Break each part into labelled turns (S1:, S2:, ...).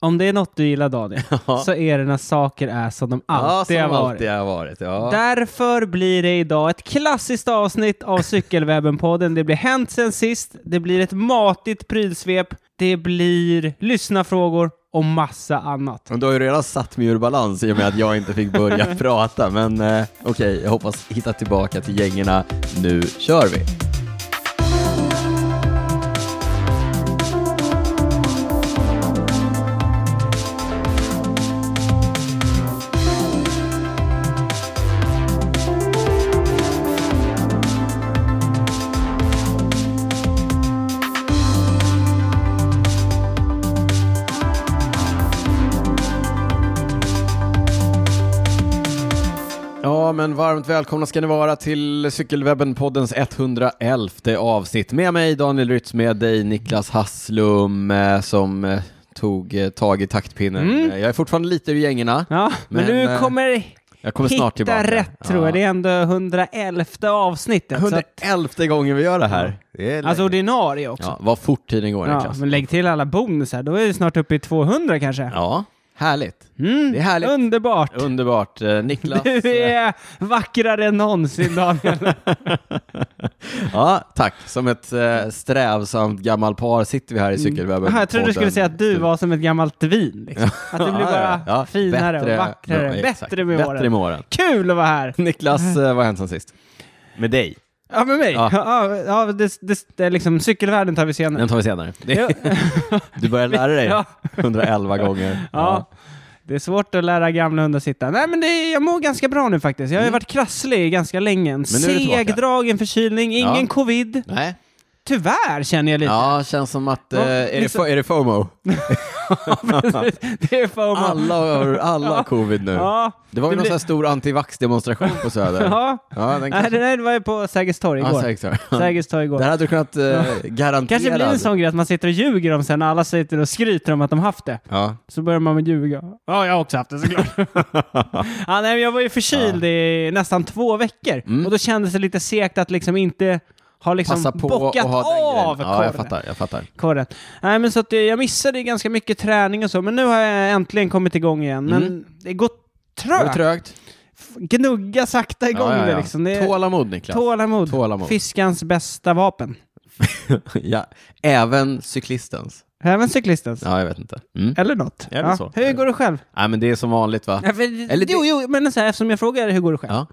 S1: Om det är något du gillar Daniel,
S2: Ja.
S1: så är det när saker är som de alltid
S2: ja,
S1: har
S2: som
S1: varit.
S2: alltid har varit. Ja.
S1: Därför blir det idag ett klassiskt avsnitt av Cykelwebben-podden. Det blir Hänt sen sist, det blir ett matigt prylsvep, det blir lyssnarfrågor och massa annat.
S2: Men Du har ju redan satt mig ur balans i och med att jag inte fick börja prata, men eh, okej, jag hoppas hitta tillbaka till gängorna. Nu kör vi! Ja, men varmt välkomna ska ni vara till Cykelwebben-poddens 111 avsnitt. Med mig Daniel Rytz, med dig Niklas Hasslum eh, som eh, tog eh, tag i taktpinnen.
S1: Mm.
S2: Eh, Jag är fortfarande lite ur gängorna.
S1: Ja, men,
S2: Men,
S1: du
S2: eh,
S1: kommer,
S2: Jag kommer
S1: hitta
S2: snart tillbaka.
S1: rätt tror jag. Det är ändå 111 avsnittet. Så att,
S2: 111 gången vi gör det här.
S3: Det är
S1: alltså
S3: länge.
S1: ordinarie också.
S2: Ja, vad fort tiden går
S1: Ja,
S2: Niklas.
S1: men lägg till alla bonusar, då är vi snart uppe i 200 kanske.
S2: Ja, härligt.
S1: Mm,
S2: Det är härligt.
S1: Underbart!
S2: Underbart. Eh, Niklas.
S1: Du är vackrare än någonsin Daniel.
S2: Ja, tack. Som ett eh, strävsamt gammalpar sitter vi här i cykelwebben.
S1: Mm. Aha, jag trodde du skulle säga att du var som ett gammalt vin. Liksom. Att det blir bara finare och vackrare. bättre med
S2: bättre
S1: åren. Mm.
S2: med åren.
S1: Kul att vara här!
S2: Niklas, eh, vad har hänt sen sist? Med dig.
S1: Ja, med mig. Ja.
S2: Ja.
S1: Ja, det, det, det, är liksom, cykelvärlden tar vi senare.
S2: Mm. Den tar vi senare. Det,
S1: Ja.
S2: Du börjar lära dig
S1: Ja.
S2: 111 gånger.
S1: Ja. Det är svårt att lära gamla hundar sitta. Nej, men det, är- jag mår ganska bra nu faktiskt. Jag har ju varit krasslig ganska länge. En
S2: Mm. Men nu är du tillbaka.
S1: segdragen förkylning, ingen
S2: Ja.
S1: covid.
S2: Nej.
S1: Tyvärr känner jag lite.
S2: Ja, känns som att... eh,
S1: Ja,
S2: är, det
S1: liksom-
S2: fo- är det FOMO?
S1: det är för
S2: Alla har, alla har covid nu.
S1: Ja,
S2: Det var
S1: Det
S2: ju någon
S1: blir-
S2: sån här stor antivax-demonstration på Söder.
S1: ja.
S2: Ja, den
S1: Nej,
S2: kanske...
S1: det där var ju på Sergels torg
S2: Ja,
S1: igår.
S2: säkert så.
S1: Sergels torg igår.
S2: Där hade du kunnat eh, garantera.
S1: kanske blir en sån grej att man sitter och ljuger om sen när alla sitter och skryter om att de haft det.
S2: Ja.
S1: Så börjar man med ljuga. Ja, jag har också haft det såklart. ja, nej, men jag var ju förkyld i nästan två veckor och då kändes det lite segt att liksom inte ha liksom
S2: Mm. Passa på och
S1: bockat
S2: ha den grejen.
S1: av
S2: Ja, jag
S1: korven.
S2: fattar. Jag fattar.
S1: korren. Nej, men så att eh, jag missade ju ganska mycket träning och så, men nu har jag äntligen kommit igång igen. Men det går
S2: Var Mm. det
S1: trögt.
S2: trögt?
S1: F- Gnugga sakta igång det liksom. Det är
S2: Tålamod Niklas.
S1: tålamod.
S2: Tålamod.
S1: Fiskans bästa vapen.
S2: ja. Även cyklistens.
S1: Även cyklistens.
S2: Ja, jag vet inte. Mm.
S1: Eller något.
S2: Är det
S1: ja.
S2: så?
S1: Hur går det själv?
S2: Nej, men det är som vanligt va?
S1: Ja, för,
S2: Eller
S1: jo, jo, men så här, eftersom jag frågar hur går det själv?
S2: Ja.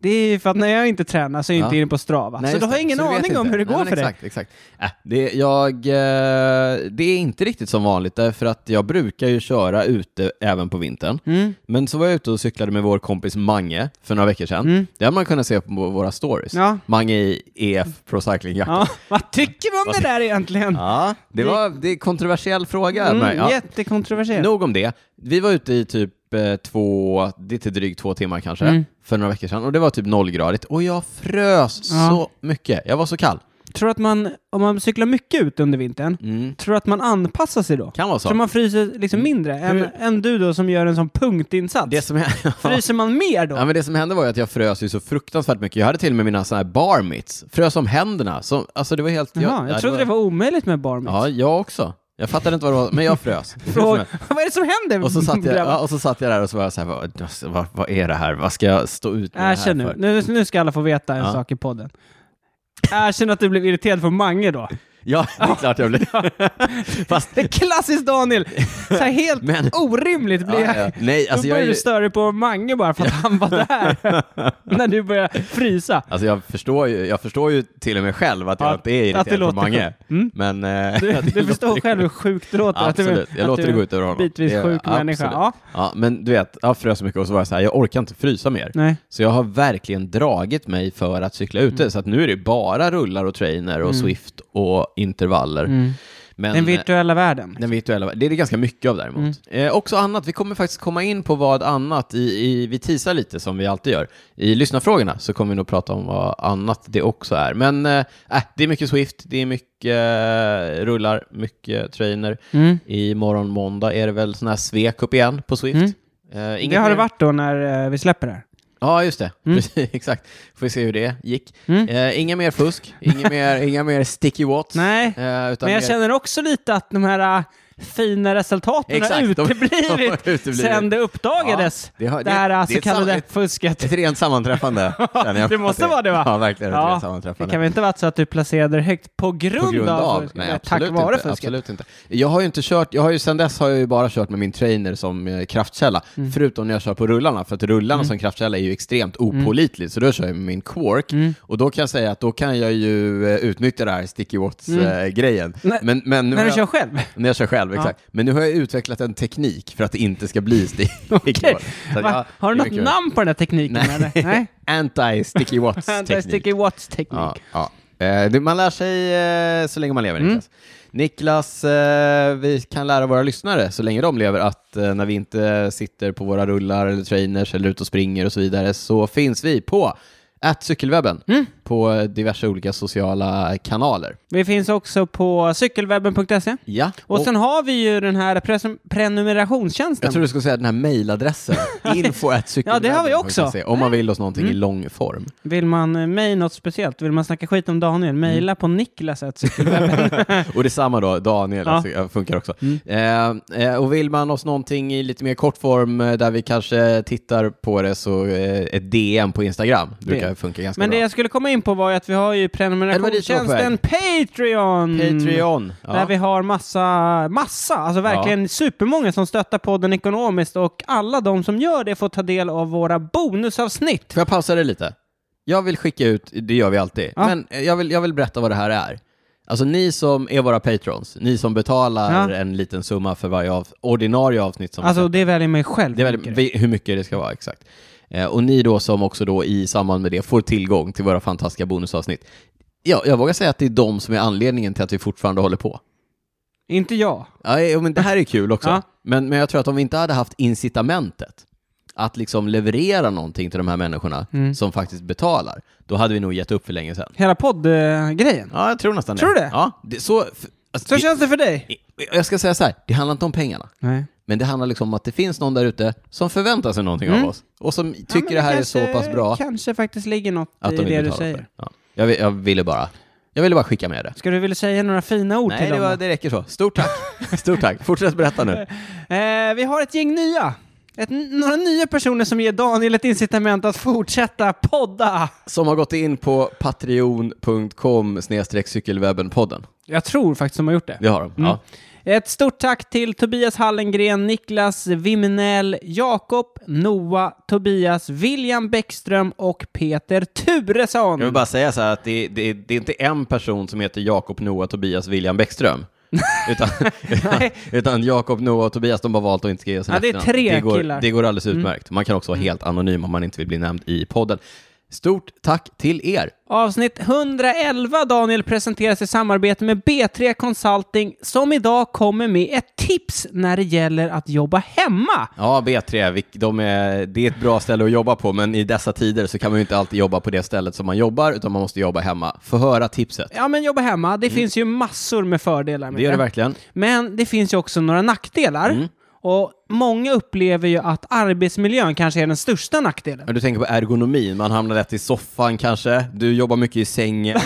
S1: Det är ju för att när jag inte tränar så är jag inte
S2: Ja.
S1: inne på Strava.
S2: Nej,
S1: så
S2: just
S1: då har
S2: det.
S1: jag ingen
S2: Så du vet
S1: aning om
S2: inte.
S1: hur det
S2: Nej,
S1: går
S2: men
S1: för dig.
S2: exakt, Exakt, Äh, det, jag, eh, det är inte riktigt som vanligt därför att jag brukar ju köra ute även på vintern.
S1: Mm.
S2: Men så var jag ute och cyklade med vår kompis Mange för några veckor sedan.
S1: Mm.
S2: Det har man kunnat se på våra stories.
S1: Ja.
S2: Mange i EF Pro Cycling-jacka.
S1: Ja, vad tycker man om det där egentligen?
S2: Ja, det var det är en kontroversiell fråga. men,
S1: Mm,
S2: ja.
S1: Jättekontroversiellt.
S2: Nog om det. Vi var ute i typ eh, två, lite drygt två timmar kanske,
S1: Mm.
S2: för några veckor sedan och det var typ nollgradigt och jag frös
S1: Ja.
S2: så mycket. Jag var så kall.
S1: Tror att man, om man cyklar mycket ut under vintern,
S2: Mm.
S1: tror att man anpassar sig då?
S2: Kan vara så.
S1: Tror man fryser liksom mindre än,
S2: Hur-
S1: än du då som gör en sån punktinsats?
S2: Det som, hä-
S1: Fryser man mer då?
S2: ja, men det som hände var ju att jag frös ju så fruktansvärt mycket. Jag hade till och med mina såna här bar mitts. Frös om händerna. Så, alltså det var helt...
S1: Jaha, jag,
S2: ja,
S1: trodde det var omöjligt med bar mitts.
S2: Ja, jag också. Jag fattade inte vad det var, men jag frös.
S1: Fråga- Vad är det som händer?
S2: Och så, satt jag,
S1: grabbar?
S2: ja, och så satt jag där och så var jag så här, vad, vad, vad är det här? Vad ska jag stå ut med det här
S1: Erkänn Äh, nu.
S2: för?
S1: nu. Nu ska alla få veta en
S2: Ja.
S1: sak i podden. Erkänn att du blev irriterad på Mange då.
S2: Ja, det är klart jag blev. Fast,
S1: Det är klassiskt Daniel! Så här helt
S2: Men-
S1: orimligt
S2: ja,
S1: blir
S2: ja.
S1: jag.
S2: Nej, alltså
S1: Då
S2: jag,
S1: började
S2: är
S1: du
S2: ju-
S1: störa dig på Mange bara för att han var där. När du började frysa.
S2: alltså jag, förstår ju, jag förstår ju till och med själv att jag
S1: Ja,
S2: inte är
S1: att det
S2: irriterad på
S1: låter
S2: Mange.
S1: sjukt. Mm.
S2: Men, eh,
S1: Du,
S2: att det
S1: du förstår
S2: låter-
S1: själv hur sjukt det låter. att
S2: Absolut,
S1: du,
S2: jag
S1: att
S2: låter
S1: du
S2: det
S1: är
S2: gå ut över honom.
S1: Bitvis
S2: Det-
S1: sjuk
S2: absolut.
S1: människa. Ja.
S2: Ja, men du vet, jag frös så mycket och så var jag så här, jag orkar inte frysa mer.
S1: Nej.
S2: Så jag har verkligen dragit mig för att cykla ute,
S1: Mm.
S2: så att nu är det bara rullar och trainer och Swift och intervaller.
S1: Mm.
S2: Men, eh,
S1: Den virtuella världen.
S2: Den virtuella, det är det ganska mycket av däremot.
S1: Mm.
S2: Eh, också annat, vi kommer faktiskt komma in på vad annat, i, i, vi teasar lite som vi alltid gör. I lyssnarfrågorna så kommer vi nog prata om vad annat det också är. Men eh, äh, det är mycket Swift, det är mycket eh, rullar, mycket trainer.
S1: Mm.
S2: Imorgon måndag är det väl sån här svekup igen på Swift.
S1: Mm.
S2: Eh,
S1: Det
S2: inget
S1: har det
S2: mer?
S1: varit då när eh, vi släpper det här.
S2: Ja, just det. Precis, exakt. Får vi se hur det gick.
S1: Mm.
S2: Eh, inga mer fusk, inga mer, inga mer sticky watts.
S1: Nej,
S2: Eh, utan
S1: Men jag
S2: mer-
S1: känner också lite att de här äh, fina resultaten har
S2: Exakt, de- de har
S1: uteblivit
S2: uteblivit.
S1: sen det uppdagades.
S2: Ja, det har-
S1: det, här
S2: det-
S1: är
S2: det är
S1: så
S2: ett sam-
S1: kallade
S2: ett-
S1: fusket.
S2: Ett rent sammanträffande, känner jag.
S1: Det måste vara det va?
S2: Ja, verkligen. Ett
S1: Ja,
S2: rent
S1: det
S2: sammanträffande.
S1: kan väl inte vara så att du placerade dig högt på grund,
S2: på grund
S1: av,
S2: av?
S1: fusket?
S2: Nej,
S1: Nej,
S2: absolut
S1: tack vare
S2: inte,
S1: fusket?
S2: absolut inte. Jag har ju inte kört, jag har ju sedan dess har jag ju bara kört med min trainer som eh, kraftkälla,
S1: Mm.
S2: förutom när jag kör på rullarna, för att rullarna som kraftkälla är ju extremt
S1: Mm.
S2: opålitlig, så då kör jag med min quark, och då kan jag säga att då kan jag ju eh, utnyttja det här sticky watts-grejen.
S1: Nej,
S2: Men, men nu
S1: När
S2: har
S1: Mm. du
S2: jag-
S1: kör själv?
S2: när jag kör själv, exakt. Men nu har jag utvecklat en teknik för att det inte ska bli sticky
S1: Okej.
S2: watts. Så att
S1: Va?
S2: jag-
S1: Har du
S2: det är
S1: något
S2: kul.
S1: namn på den här tekniken?
S2: Nej.
S1: Eller? Nej.
S2: Anti-sticky watts-teknik.
S1: Sticky Watts-teknik.
S2: Ja, ja. Eh, det- Man lär sig eh, så länge man lever,
S1: Mm.
S2: Niklas. Niklas, eh, vi kan lära våra lyssnare så länge de lever att eh, när vi inte sitter på våra rullar eller trainers eller ute och springer och så vidare så finns vi på att cykelwebben
S1: Mm.
S2: på eh, diverse olika sociala kanaler.
S1: Vi finns också på cykelwebben.se.
S2: Ja,
S1: Och sen har vi ju den här pres- prenumerationstjänsten.
S2: jag tror du skulle säga den här mejladressen, info at
S1: Ja, det har vi också. Mm.
S2: cykelwebben.se, Om man vill oss någonting i lång form.
S1: Vill man eh, mig något speciellt, vill man snacka skit om Daniel, mejla på niklas.cykelwebben.
S2: Och detsamma då, Daniel
S1: Ja. Mm.
S2: alltså, funkar också. Eh, eh, och vill man oss någonting i lite mer kort form eh, där vi kanske tittar på det så eh, ett DM på Instagram brukar funka ganska
S1: Men det
S2: bra.
S1: jag skulle komma in på var ju att vi har ju
S2: var dit jag var på
S1: prenumerationstjänsten Patreon.
S2: Patreon. Ja.
S1: Där vi har massa, massa, alltså verkligen supermånga som stöttar podden ekonomiskt och alla de som gör det får ta del av våra bonusavsnitt.
S2: Får jag pausa det lite? Jag vill skicka ut, det gör vi alltid,
S1: Ja.
S2: men eh, jag vill, jag vill berätta vad det här är. Alltså ni som är våra patrons, ni som betalar
S1: Ja.
S2: en liten summa för varje av, ordinarie avsnitt som vi
S1: Alltså det väljer mig själv.
S2: Det är
S1: mycket.
S2: väl, vi- hur mycket det ska vara, exakt. Eh, och ni då som också då i samband med det får tillgång till våra fantastiska bonusavsnitt. Ja, jag vågar säga att det är de som är anledningen till att vi fortfarande håller på.
S1: Inte jag.
S2: Ja, eh, men det här är kul också.
S1: Ja.
S2: Men, men jag tror att om vi inte hade haft incitamentet att liksom leverera någonting till de här människorna som faktiskt betalar, då hade vi nog gett upp för länge sedan.
S1: Hela poddgrejen.
S2: Ja, jag tror nästan
S1: Tror du
S2: det.
S1: det?
S2: Ja, det, så... f- Alltså,
S1: Så
S2: det,
S1: känns det för dig?
S2: jag ska säga så här, det handlar inte om pengarna.
S1: Nej.
S2: Men det handlar liksom om att det finns någon där ute som förväntar sig någonting
S1: Mm.
S2: av oss och som tycker det här är så pass bra
S1: Kanske faktiskt ligger något
S2: att
S1: i
S2: de
S1: det
S2: vill
S1: du
S2: betala för
S1: säger.
S2: det. Ja. Jag, vill, jag ville bara jag ville bara skicka med det.
S1: Ska du vilja säga några fina ord
S2: Nej,
S1: till
S2: det,
S1: dem?
S2: var, det räcker så. Stort tack. Stort tack. Fortsätt berätta nu.
S1: Eh, vi har ett gäng nya. Ett, några nya personer som ger Daniel ett incitament att fortsätta podda.
S2: Som har gått in på patreon.com cykelwebbenpodden.
S1: Jag tror faktiskt de har gjort det.
S2: Det har de. Ja.
S1: Ett stort tack till Tobias Hallengren, Niklas Wimnell, Jakob, Noah, Tobias, William Bäckström och Peter Turesson.
S2: Jag vill bara säga så här att det, det, det är inte en person som heter Jakob, Noah, Tobias, William Bäckström. utan, utan,
S1: Nej.
S2: utan Jakob, Noah och Tobias, de har valt att inte skriva sina
S1: Ja, det är
S2: efternamn.
S1: tre
S2: det går,
S1: killar. Mm.
S2: Det går alldeles utmärkt. Man kan också vara helt anonym om man inte vill bli nämnd i podden. Stort tack till er!
S1: Avsnitt 111 Daniel presenteras i samarbete med B3 Consulting som idag kommer med ett tips när det gäller att jobba hemma.
S2: Ja, B3, vilk- de är, det är ett bra ställe att jobba på, men i dessa tider så kan man ju inte alltid jobba på det stället som man jobbar, utan man måste jobba hemma. Få höra tipset.
S1: Ja, men jobba hemma, det finns ju massor med fördelar med
S2: Mm. Det gör det verkligen.
S1: Men det finns ju också några nackdelar.
S2: Mm.
S1: Och många upplever ju att arbetsmiljön kanske är den största nackdelen.
S2: Men Du tänker på ergonomin, man hamnar lätt i soffan kanske, du jobbar mycket i sängen.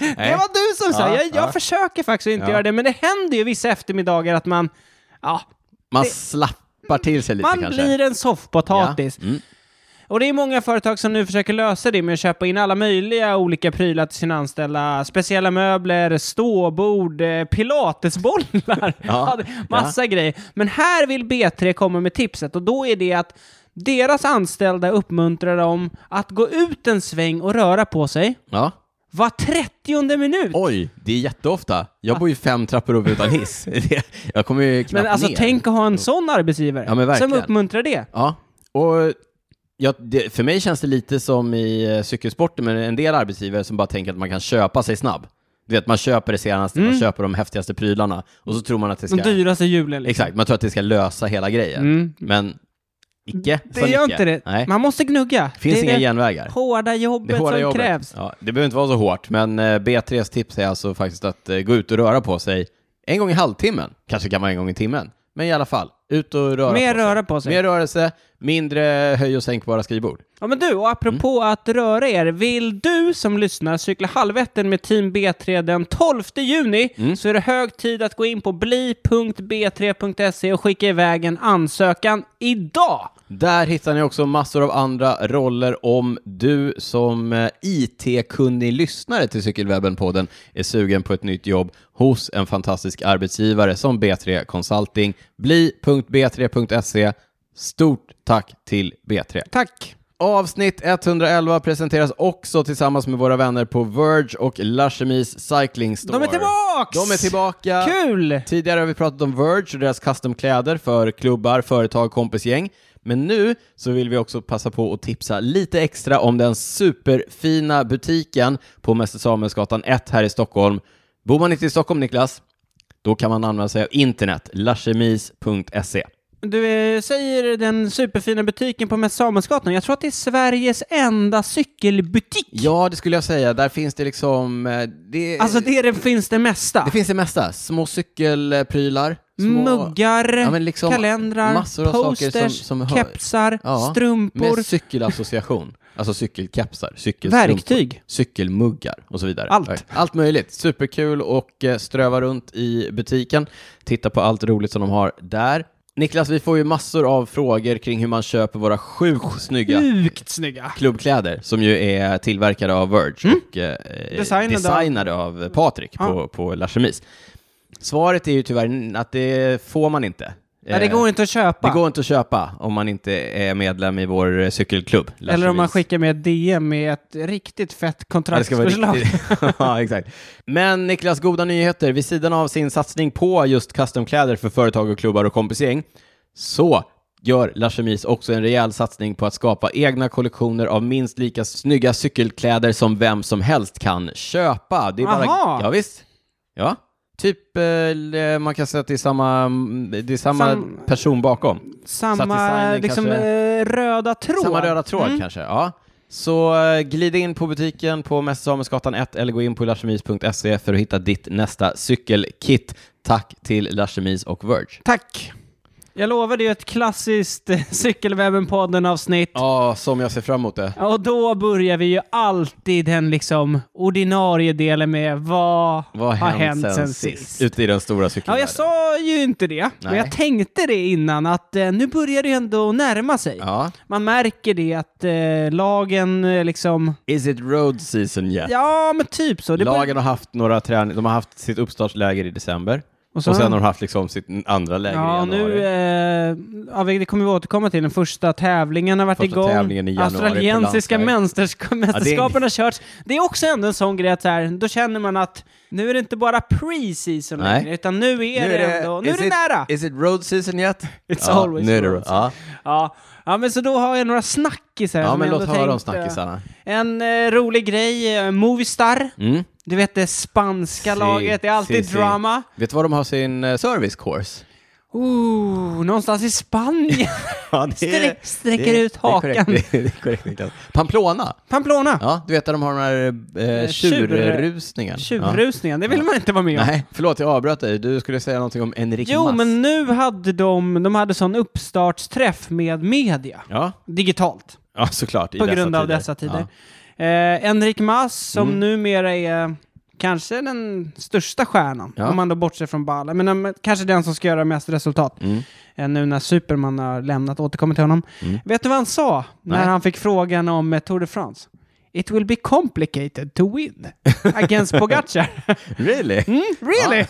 S1: Det var du som sa,
S2: Ja,
S1: jag, jag
S2: ja.
S1: försöker faktiskt inte
S2: Ja.
S1: göra det, men det händer ju vissa eftermiddagar att man, ja,
S2: Man slappar till sig lite
S1: man
S2: kanske.
S1: blir en soffpotatis.
S2: Ja. Mm.
S1: Och det är många företag som nu försöker lösa det med att köpa in alla möjliga olika prylar till sina anställda. Speciella möbler, ståbord, eh, pilatesbollar,
S2: Ja.
S1: massa grejer. Men här vill B3 komma med tipset och då är det att deras anställda uppmuntrar dem att gå ut en sväng och röra på sig
S2: Ja.
S1: var 30 minut.
S2: Oj, det är jätteofta. Jag bor ju fem trappor upp utan hiss. Det- Jag kommer ju knappt
S1: Men alltså
S2: ner.
S1: tänk att ha en sån arbetsgivare
S2: Ja, men
S1: som
S2: verkligen.
S1: uppmuntrar det.
S2: Ja, och ja, det, för mig känns det lite som i eh, cykelsporten med en del arbetsgivare som bara tänker att man kan köpa sig snabb. Du vet, man köper det senaste,
S1: Mm.
S2: man köper de häftigaste prylarna och så tror man att det
S1: De
S2: ska...
S1: dyraste hjulen. Liksom.
S2: Exakt, man tror att det ska lösa hela grejen.
S1: Mm.
S2: Men icke.
S1: Det
S2: sa
S1: gör
S2: Nicke.
S1: inte det.
S2: Nej.
S1: Man måste gnugga.
S2: finns
S1: det är
S2: inga
S1: det
S2: genvägar.
S1: hårda jobbet
S2: Det hårda
S1: som
S2: jobbet.
S1: krävs.
S2: Ja, det behöver inte vara så hårt, men eh, B3s tips är alltså faktiskt att eh, gå ut och röra på sig en gång i halvtimmen. Kanske kan vara en gång i timmen. Men i alla fall, ut och röra
S1: Mer
S2: på sig.
S1: röra på sig.
S2: Mer rörelse, mindre höj och sänkbara skrivbord.
S1: Ja men du, och apropå
S2: Mm.
S1: att röra er, vill du som lyssnar cykla Halvätten med Team B3 den 12 juni
S2: Mm.
S1: så är det hög tid att gå in på bli.b3.se och skicka iväg en ansökan idag!
S2: Där hittar ni också massor av andra roller om du som eh, IT-kunnig lyssnare till Cykelwebben-podden är sugen på ett nytt jobb hos en fantastisk arbetsgivare som B3 Consulting. Bli.b3.se. E. Stort tack till B3.
S1: Tack!
S2: Avsnitt 111 presenteras också tillsammans med våra vänner på Verge och Larsemis Cycling Store.
S1: De är tillbaks!
S2: De är tillbaka!
S1: Kul!
S2: Tidigare har vi pratat om Verge och deras customkläder för klubbar, företag, kompisgäng. Men nu så vill vi också passa på att tipsa lite extra om den superfina butiken på Mäster Samuelsgatan 1 här i Stockholm. Bor man inte i Stockholm, Niklas, då kan man använda sig av internet, larsemis.se.
S1: Du eh, säger den superfina butiken på Mäster Samuelsgatan. Jag tror att det är Sveriges enda cykelbutik.
S2: Ja, det skulle jag säga. Där finns det liksom... eh, Det,
S1: Alltså det, det finns det mesta.
S2: det finns det mesta. Små cykelprylar. Små...
S1: Muggar,
S2: Ja, men liksom massor av
S1: kalendrar,
S2: saker som-
S1: posters,
S2: som hör-
S1: kepsar,
S2: Ja,
S1: strumpor.
S2: Med cykelassociation. Alltså cykelkepsar, cykelstrumpor,
S1: Verktyg.
S2: cykelmuggar och så vidare.
S1: Allt.
S2: Allt möjligt. Superkul och eh, ströva runt i butiken. Titta på allt roligt som de har där. Niklas, vi får ju massor av frågor kring hur man köper våra sjukt snygga
S1: Sjukt snygga.
S2: klubbkläder som ju är tillverkade av Verge och eh, eh,
S1: Mm. Designade av-
S2: designade av, Patrik på, på Larsemis. Svaret är ju tyvärr att det får man inte.
S1: Nej, det
S2: Eh,
S1: går inte att köpa.
S2: det går inte att köpa om man inte är medlem i vår eh, cykelklubb.
S1: Eller om man
S2: Lassevis.
S1: skickar med ett DM med ett riktigt fett
S2: Ja, det ska vara
S1: kontraktsförslag.
S2: riktigt. ja, exakt. Men Niklas, goda nyheter. Vid sidan av sin satsning på just customkläder för företag och klubbar och kompisgäng så gör Larsemis också en rejäl satsning på att skapa egna kollektioner av minst lika snygga cykelkläder som vem som helst kan köpa. Det är bara...
S1: Aha.
S2: Ja, visst. Ja. Typ, eh, man kan säga att det är samma, det är samma
S1: Sam-
S2: person bakom. Så att
S1: Samma
S2: designen
S1: liksom,
S2: kanske-
S1: eh, röda tråd. Mm.
S2: Samma röda tråd kanske, ja. Så eh, glid in på butiken på Mäster Samuelsgatan 1 eller gå in på larsemis.se för att hitta ditt nästa cykelkit. Tack till Larsemis och Verge.
S1: Tack! Jag lovar, det är ett klassiskt eh, Cykelwebben-podden-avsnitt.
S2: Ja, som jag ser fram emot det.
S1: Och då börjar vi ju alltid den liksom ordinarie delen med vad,
S2: Vad
S1: har
S2: har hänt sen, sist? Ute i den stora
S1: Ja,
S2: cykelvärlden.
S1: jag sa ju inte det, men
S2: Nej.
S1: jag tänkte det innan att eh, nu börjar det ju ändå närma sig.
S2: Ja.
S1: Man märker det att eh, lagen eh, liksom...
S2: Is it road season yet?
S1: Ja, men typ så. Det bör-
S2: Lagen har haft några träningar, de har haft sitt uppstartsläger i december. Och,
S1: så-
S2: sen har de haft liksom sitt andra läger
S1: Ja,
S2: i januari.
S1: nu... Eh, ja, vi- det kommer vi återkomma till. Den första tävlingen har varit
S2: Första
S1: igång.
S2: tävlingen i januari på
S1: Australiensiska
S2: landsväg.
S1: mästersk- mästerskapen har körts. Det är också ändå en sån grej att så här, då känner man att nu är det inte bara pre-season
S2: Nej.
S1: längre, utan nu är det ändå... Nu är
S2: is
S1: det
S2: it,
S1: nära!
S2: Is it road season yet?
S1: It's
S2: ja,
S1: always
S2: nu är det
S1: road
S2: ro-
S1: season.
S2: ja.
S1: Ja. ja, men så då har jag några snackisar.
S2: ja,
S1: som
S2: men
S1: jag
S2: låt
S1: ändå
S2: höra om
S1: tänkte-
S2: snackisarna.
S1: En eh, rolig grej, eh, Movistar.
S2: Mm.
S1: Du vet det spanska
S2: Si,
S1: laget, det är alltid
S2: si, si.
S1: drama.
S2: Vet du var de har sin eh, service course?
S1: Ooh, någonstans i Spanien.
S2: Ja, det
S1: Sträck- sträcker ut
S2: Det är
S1: hakan.
S2: korrekt, det är korrekt Niklas. Pamplona,
S1: Pamplona.
S2: ja, du vet där de har den här eh, tjurrusningen. Ja.
S1: Tjurrusningen, det vill man inte vara med om.
S2: Nej, förlåt jag avbröt dig. Du skulle säga någonting om Enrique
S1: Jo,
S2: Mas.
S1: men nu hade de, de hade sån uppstartsträff med media,
S2: Ja,
S1: digitalt,
S2: ja såklart. i
S1: på
S2: dessa
S1: grund av
S2: tider. Mm.
S1: dessa tider. Eh, Enrik Mas, som numera är kanske den största stjärnan,
S2: Ja.
S1: om man då bortser från Balla, men eh, kanske den som ska göra mest resultat.
S2: Ja. Mm.
S1: Eh, nu när Superman har lämnat, återkommer till honom.
S2: Mm.
S1: Vet du vad han sa när
S2: Nej.
S1: han fick frågan om eh, Tour de France? It will be complicated to win against Pogacar.
S2: Really?
S1: Mm, really?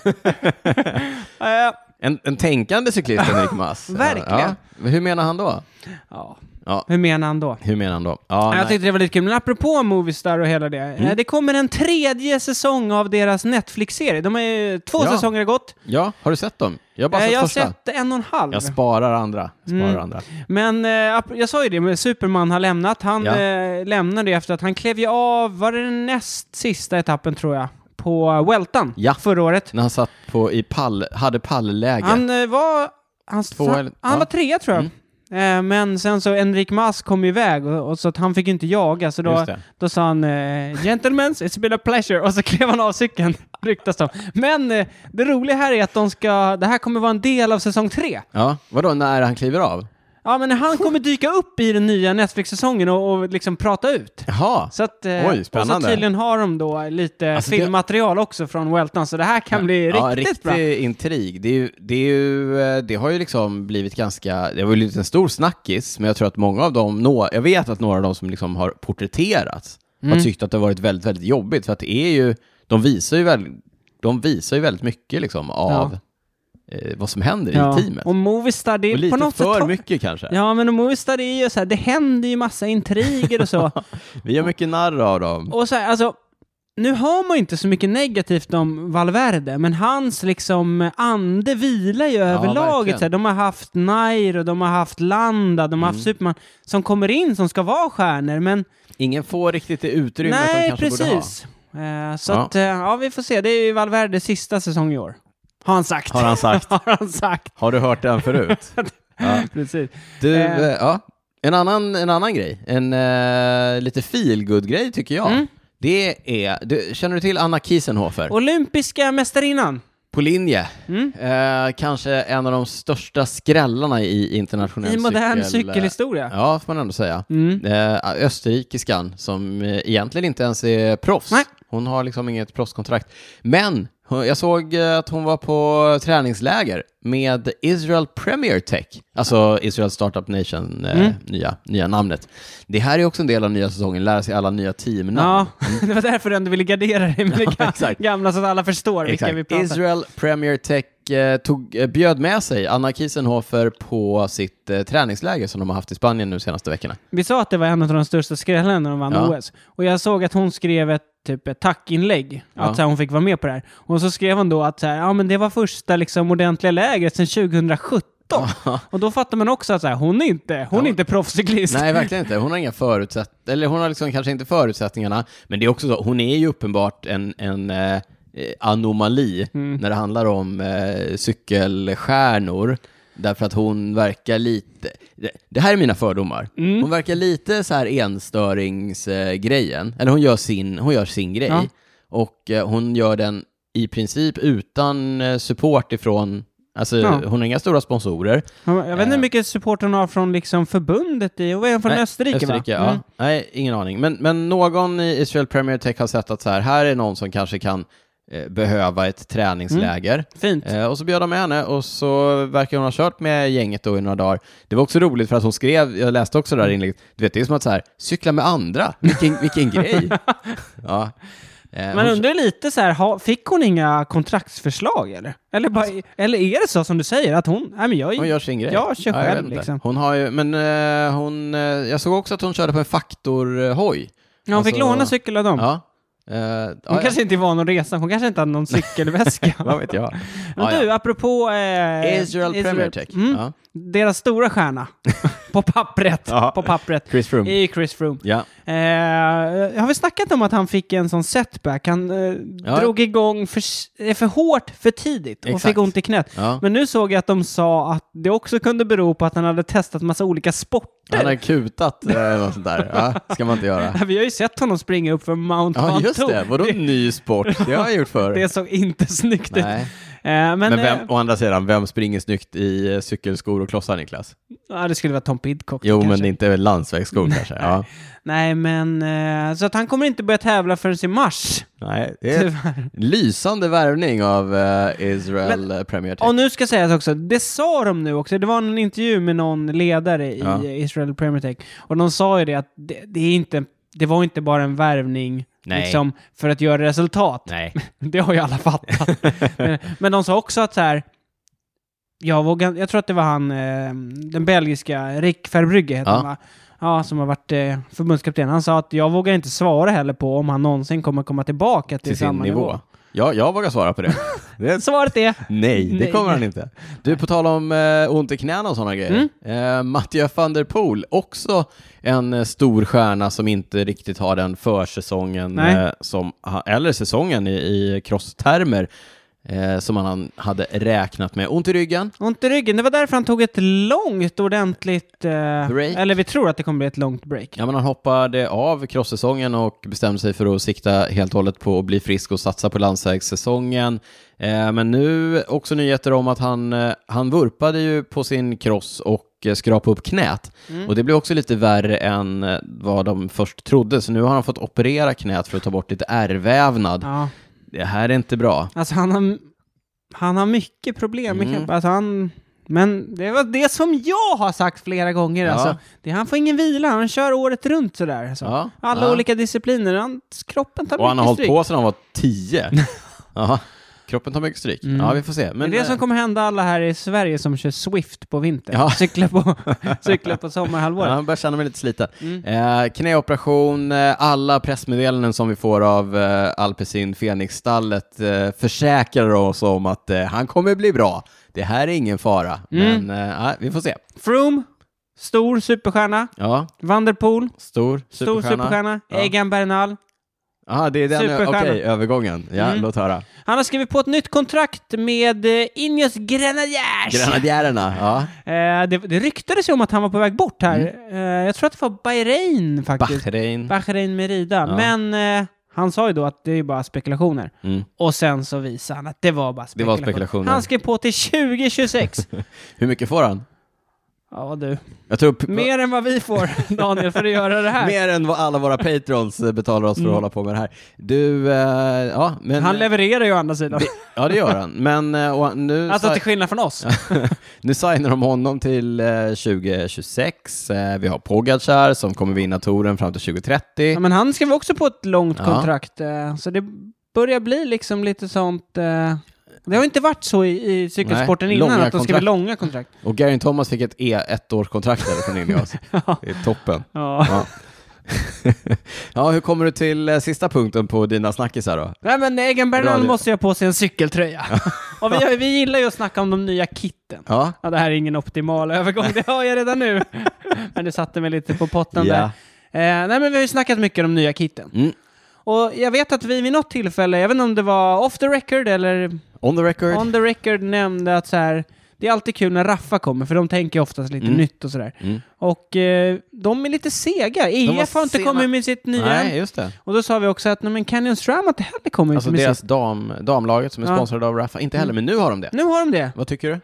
S1: Eh,
S2: En, en tänkande cyklist, Enrique Mas.
S1: Verkligen.
S2: Ja. Men Hur menar han då?
S1: ja.
S2: Ja.
S1: Hur menar han då?
S2: Hur menar han då? Ja,
S1: jag
S2: nej. Mm.
S1: tyckte det var lite kul, men apropå Movistar och hela det. eh, Det kommer en tredje säsong av deras Netflix-serie. De har ju två
S2: Ja.
S1: säsonger har gått.
S2: ja, har du sett dem? Jag har bara
S1: Eh,
S2: sett
S1: jag har
S2: första.
S1: sett en och en halv.
S2: Jag sparar andra. Jag sparar
S1: Mm.
S2: andra.
S1: Men eh, ap- jag sa ju det, men Superman har lämnat. Han
S2: Ja.
S1: eh, lämnade ju efter att han klev ju av, var det den näst sista etappen tror jag, på Weltan
S2: Ja.
S1: förra året.
S2: När han satt på, i pall, hade pallläge.
S1: Han eh, var... Han,
S2: Två
S1: han,
S2: eller-
S1: han
S2: ja. Mm.
S1: var trea tror jag. Eh, men sen så Enrik Mas kom iväg och, och så att han fick ju inte jaga så då,
S2: Just det.
S1: då sa han eh, “Gentlemen, it's been a pleasure” och så klev han av cykeln, ryktas det Men eh, det roliga här är att de ska, det här kommer vara en del av säsong tre.
S2: Ja, vadå när han kliver av?
S1: Ja men han kommer dyka upp i den nya Netflix-säsongen och, och liksom prata ut.
S2: Jaha,
S1: Så att, eh,
S2: Oj, spännande.
S1: Och så tydligen har de då lite
S2: Alltså, det-
S1: filmmaterial också från Welton, så det här kan bli
S2: ja,
S1: riktigt
S2: riktig
S1: bra.
S2: intrig. Det, är ju, det, är ju, eh, det har ju liksom blivit ganska, det har ju blivit en stor snackis, men jag tror att många av dem, nå, jag vet att några av dem som liksom har porträtterats har tyckt att det har varit väldigt, väldigt jobbigt, för att det är ju, de visar ju väldigt, de visar ju väldigt mycket liksom av eh, vad som händer
S1: Ja.
S2: i teamet.
S1: Och Movistar, det
S2: Och
S1: är på
S2: lite
S1: något sätt...
S2: för
S1: har-
S2: mycket kanske.
S1: Ja, men och Movistar är ju så här, det händer ju massa intriger och så.
S2: Vi har mycket narr av dem.
S1: och så här, alltså, nu har man ju inte så mycket negativt om Valverde, men hans liksom ande vilar ju över laget.
S2: verkligen.
S1: Så här, de har haft Nair och de har haft Landa, de har
S2: Mm.
S1: haft Superman som kommer in som ska vara stjärnor, men
S2: Ingen får riktigt det utrymme som
S1: Nej,
S2: de kanske borde ha.
S1: precis. Eh, så
S2: Ja.
S1: att, eh, ja, vi får se. Det är ju Valverdes sista säsong i år. Har han sagt.
S2: Har han sagt.
S1: Har han sagt.
S2: Har du hört den förut? Ja.
S1: Precis.
S2: Du,
S1: Eh.
S2: eh, ja. En annan, en annan grej, en eh, lite feelgood grej tycker jag. Det är, du, känner du till Anna Kiesenhofer?
S1: Olympiska mästarinnan.
S2: På linje. Eh, kanske en av de största skrällarna i internationell
S1: I modern
S2: cykel-
S1: cykelhistoria.
S2: Ja, får man ändå säga.
S1: Mm.
S2: Eh, österrikiskan som eh, egentligen inte ens är proffs.
S1: Nej.
S2: Hon har liksom inget proffskontrakt. Men hon, jag såg eh, att hon var på träningsläger med Israel Premier Tech, alltså Israel Startup Nation, eh,
S1: Mm.
S2: nya, nya namnet. Det här är också en del av nya säsongen, lära sig alla nya teamnamn.
S1: Ja, det var därför du ändå ville gardera dig med det ga-
S2: exakt.
S1: gamla så att alla förstår vilka vi pratar om.
S2: Israel Premier Tech eh, tog, eh, bjöd med sig Anna Kiesenhofer på sitt eh, träningsläger som de har haft i Spanien nu senaste veckorna.
S1: Vi sa att det var en av de största skrällarna när de vann
S2: Ja.
S1: OS. Och jag såg att hon skrev ett typ ett tackinlägg, att
S2: Ja.
S1: så här, hon fick vara med på det här. Och så skrev hon då att så här, ja, men det var första liksom, ordentliga lägret sedan 2017. Och då fattar man också att så här, hon är inte, hon är inte proffscyklist.
S2: Nej, verkligen inte. Hon har inga förutsättningar, eller hon har liksom kanske inte förutsättningarna, men det är också så, hon är ju uppenbart en, en eh, anomali
S1: Mm.
S2: när det handlar om eh, cykelstjärnor. Därför att hon verkar lite, det- det här är mina fördomar,
S1: Mm.
S2: hon verkar lite så här enstöringsgrejen, eh, grejen. eller hon gör sin, hon gör sin grej.
S1: Ja.
S2: Och eh, hon gör den i princip utan eh, support ifrån, alltså
S1: Ja.
S2: hon har inga stora sponsorer,
S1: Jag vet inte hur mycket support hon har från liksom förbundet i, och vad är hon från
S2: Eh. Nej,
S1: Österrike,
S2: Österrike
S1: va?
S2: ja.
S1: Mm.
S2: Nej, ingen aning. Men, men någon i Israel Premier Tech har sett att så här, här är någon som kanske kan eh, behöva ett träningsläger.
S1: Fint.
S2: Eh, och så bjöd de med henne och så verkar hon ha kört med gänget då i några dagar. Det var också roligt för att hon skrev, jag läste också det
S1: Mm.
S2: här inlägget, du vet det är som att så här, cykla med andra, vilken, vilken grej. Ja. Eh,
S1: Man
S2: hon-
S1: undrar lite så här, ha, fick hon inga kontraktsförslag eller? Eller, bara, eller är det så som du säger, att hon, nej men jag är
S2: Alltså- Hon gör sin grej.
S1: Jag kör
S2: Ja, vet
S1: själv,
S2: inte.
S1: liksom.
S2: Hon har ju, men eh, hon, eh, jag såg också att hon körde på en faktorhoj.
S1: Ja, hon fick
S2: Alltså-
S1: låna cykel av dem.
S2: Ja. Eh, ja,
S1: Mm. Hon
S2: ja.
S1: kanske inte var någon resa, hon kanske inte hade någon cykelväska.
S2: Vad vet jag?
S1: Men
S2: Ja,
S1: du,
S2: ja.
S1: apropå... Eh,
S2: Israel Premier Tech.
S1: Mm,
S2: Ja.
S1: Deras stora stjärna, på pappret,
S2: Ja.
S1: på pappret,
S2: Chris Froome.
S1: är ju Chris Froome.
S2: Ja.
S1: Eh, har vi snackat om att han fick en sån setback? Han eh, drog igång för, eh, för hårt för tidigt och
S2: Exakt.
S1: fick ont i knät.
S2: Ja.
S1: Men nu såg jag att de sa att det också kunde bero på att han hade testat massa olika sporter.
S2: Han har kutat eller något sånt där. Ja, ska man inte göra.
S1: Vi har ju sett honom springa upp för Mount
S2: Ah. Ja,
S1: Pantou.
S2: just det. Vadå ny sport? Det har jag gjort förr.
S1: Det såg inte snyggt ut.
S2: Nej.
S1: Eh, men
S2: Men
S1: eh,
S2: vem, å andra sidan, vem springer snyggt i eh, cykelskor och klossar, Niklas?
S1: ja, det skulle vara Tom Pidcock
S2: Jo,
S1: kanske.
S2: men inte landsvägsskor kanske. Ja.
S1: Nej, men eh, så att han kommer inte börja tävla förrän i mars.
S2: Nej, det är
S1: Tyvärr.
S2: lysande värvning av eh, Israel eh, Premier Tech.
S1: Och nu ska sägas också, det sa de nu också, det var en intervju med någon ledare i
S2: Ja.
S1: Israel Premier Tech, och de sa ju det att det, det, är inte, det var inte bara en värvning
S2: Nej.
S1: liksom, för att göra resultat.
S2: Nej.
S1: Det har ju alla fattat. men, men de sa också att så här, jag, vågar, jag tror att det var han, eh, den belgiska, Rick Verbrugge heter
S2: Ja.
S1: han va? Ja, som har varit eh, förbundskapten. Han sa att jag vågar inte svara heller på om han någonsin kommer komma tillbaka till,
S2: Till sin
S1: samma nivå.
S2: nivå. Ja, jag vågar svara på det. det är
S1: Svaret är
S2: Nej, det
S1: Nej.
S2: kommer han inte. Du, på tal om eh, ont i knäna och sådana grejer.
S1: Mm.
S2: Eh, Mattias van der Poel, också en eh, stor stjärna som inte riktigt har den försäsongen,
S1: Nej.
S2: eh, som, ha- eller säsongen i, i crosstermer eh, som han hade räknat med. Ont i ryggen.
S1: Ont i ryggen. Det var därför han tog ett långt, ordentligt... Eh,
S2: Break.
S1: eller vi tror att det kommer bli ett långt break.
S2: Ja, men han hoppade av crosssäsongen och bestämde sig för att sikta helt och hållet på att bli frisk och satsa på landsvägssäsongen. Eh, men nu också nyheter om att han, eh, han vurpade ju på sin cross och eh, skrapade upp knät.
S1: Mm.
S2: Och det blev också lite värre än eh, vad de först trodde, så nu har han fått operera knät för att ta bort lite ärrvävnad.
S1: Ja.
S2: Det här är inte bra.
S1: Alltså han har, han har mycket problem med
S2: Mm.
S1: kroppen. Alltså han... Men det var det som jag har sagt flera gånger.
S2: Ja.
S1: Alltså, det, han får ingen vila, han kör året runt sådär. Alltså.
S2: Ja,
S1: Alla
S2: ja.
S1: olika discipliner, han, kroppen tar
S2: Och han har
S1: mycket
S2: hållit
S1: stryk.
S2: på sedan han var tio. ja, kroppen tar mycket stryk. Ja, vi får se. Men,
S1: Men, Mm. det är det som
S2: eh,
S1: kommer hända alla här i Sverige som kör Swift på vintern.
S2: Ja.
S1: Cyklar, på, cyklar på sommarhalvåret.
S2: Ja, jag börjar känna mig lite sliten.
S1: Mm.
S2: Eh, knäoperation, eh, alla pressmeddelanden som vi får av eh, Alpecin Fenix-stallet eh, försäkrar oss om att eh, han kommer bli bra. Det här är ingen fara,
S1: Mm.
S2: men eh, ja, vi får se.
S1: Froome, stor superstjärna.
S2: Ja,
S1: Van der Poel,
S2: stor
S1: stor
S2: superstjärna.
S1: superstjärna.
S2: Ja.
S1: Egan Bernal.
S2: Aha, det är den, okej,
S1: Superstjärna.
S2: övergången. Ja,
S1: Mm.
S2: låt höra.
S1: Han har skrivit på ett nytt kontrakt med eh, Ineos Grenadiers.
S2: Grenadjärerna, ja.
S1: eh, det, det ryktades ju om att han var på väg bort här. Eh, jag tror att det var Bahrain faktiskt.
S2: Mm. Bahrain.
S1: Bahrain Merida.
S2: Ja.
S1: Men eh, han sa ju då att det är ju bara spekulationer.
S2: Mm.
S1: Och sen så visade han att det var bara
S2: Det var
S1: spekulationer.
S2: spekulationer.
S1: Han skrev på till 2026.
S2: Hur mycket får han?
S1: ja du.
S2: Jag tror p-
S1: Mer än vad vi får, Daniel, för att göra det här. Mm.
S2: Mer än vad alla våra patrons eh, betalar oss för att hålla på med det här. Du, eh, ja, men...
S1: Han levererar ju å andra sidan.
S2: Det- Ja, det gör han. Men eh, och nu,
S1: Alltså
S2: si-
S1: till skillnad från oss.
S2: nu signar de honom till eh, 2026. Eh, Vi har Pogacar som kommer vinna touren fram till 2030.
S1: Ja, men han skrev också på ett långt
S2: Ja.
S1: kontrakt, eh, så det börjar bli liksom lite sånt... eh, Det har inte varit så i, i cykelsporten
S2: Nej,
S1: innan,
S2: långa
S1: att de skriver
S2: kontrakt.
S1: långa kontrakt.
S2: Och Garin Thomas fick ett e ettårskontrakt där från Ineos.
S1: Ja.
S2: Det är toppen.
S1: Ja.
S2: Ja. ja, hur kommer du till eh, sista punkten på dina snackisar då?
S1: Nej men Egan Bernal
S2: Radio.
S1: måste ju ha på sig en cykeltröja. och vi, har- vi gillar ju att snacka om de nya kitten.
S2: Ja,
S1: Ja, det här är ingen optimal övergång, det hör jag redan nu. men du satte mig lite på potten
S2: Ja.
S1: där. Eh, nej men vi har ju snackat mycket om nya kitten.
S2: Mm.
S1: Och jag vet att vi vid något tillfälle, jag vet inte om det var off the record eller
S2: on the record.
S1: On the record nämnde att så här, det är alltid kul när Raffa kommer, för de tänker oftast lite
S2: Mm.
S1: nytt och sådär.
S2: Mm.
S1: Och eh, de är lite sega. EF har inte
S2: sena.
S1: kommit med sitt nya.
S2: Nej,
S1: än.
S2: just det.
S1: Och då sa vi också att nej, men Canyon Stram har inte heller kommit
S2: Alltså
S1: med
S2: deras
S1: sitt.
S2: dam, damlaget som är
S1: Ja.
S2: sponsrade av Raffa, inte heller, men nu har de det.
S1: Nu har de det.
S2: Vad tycker du?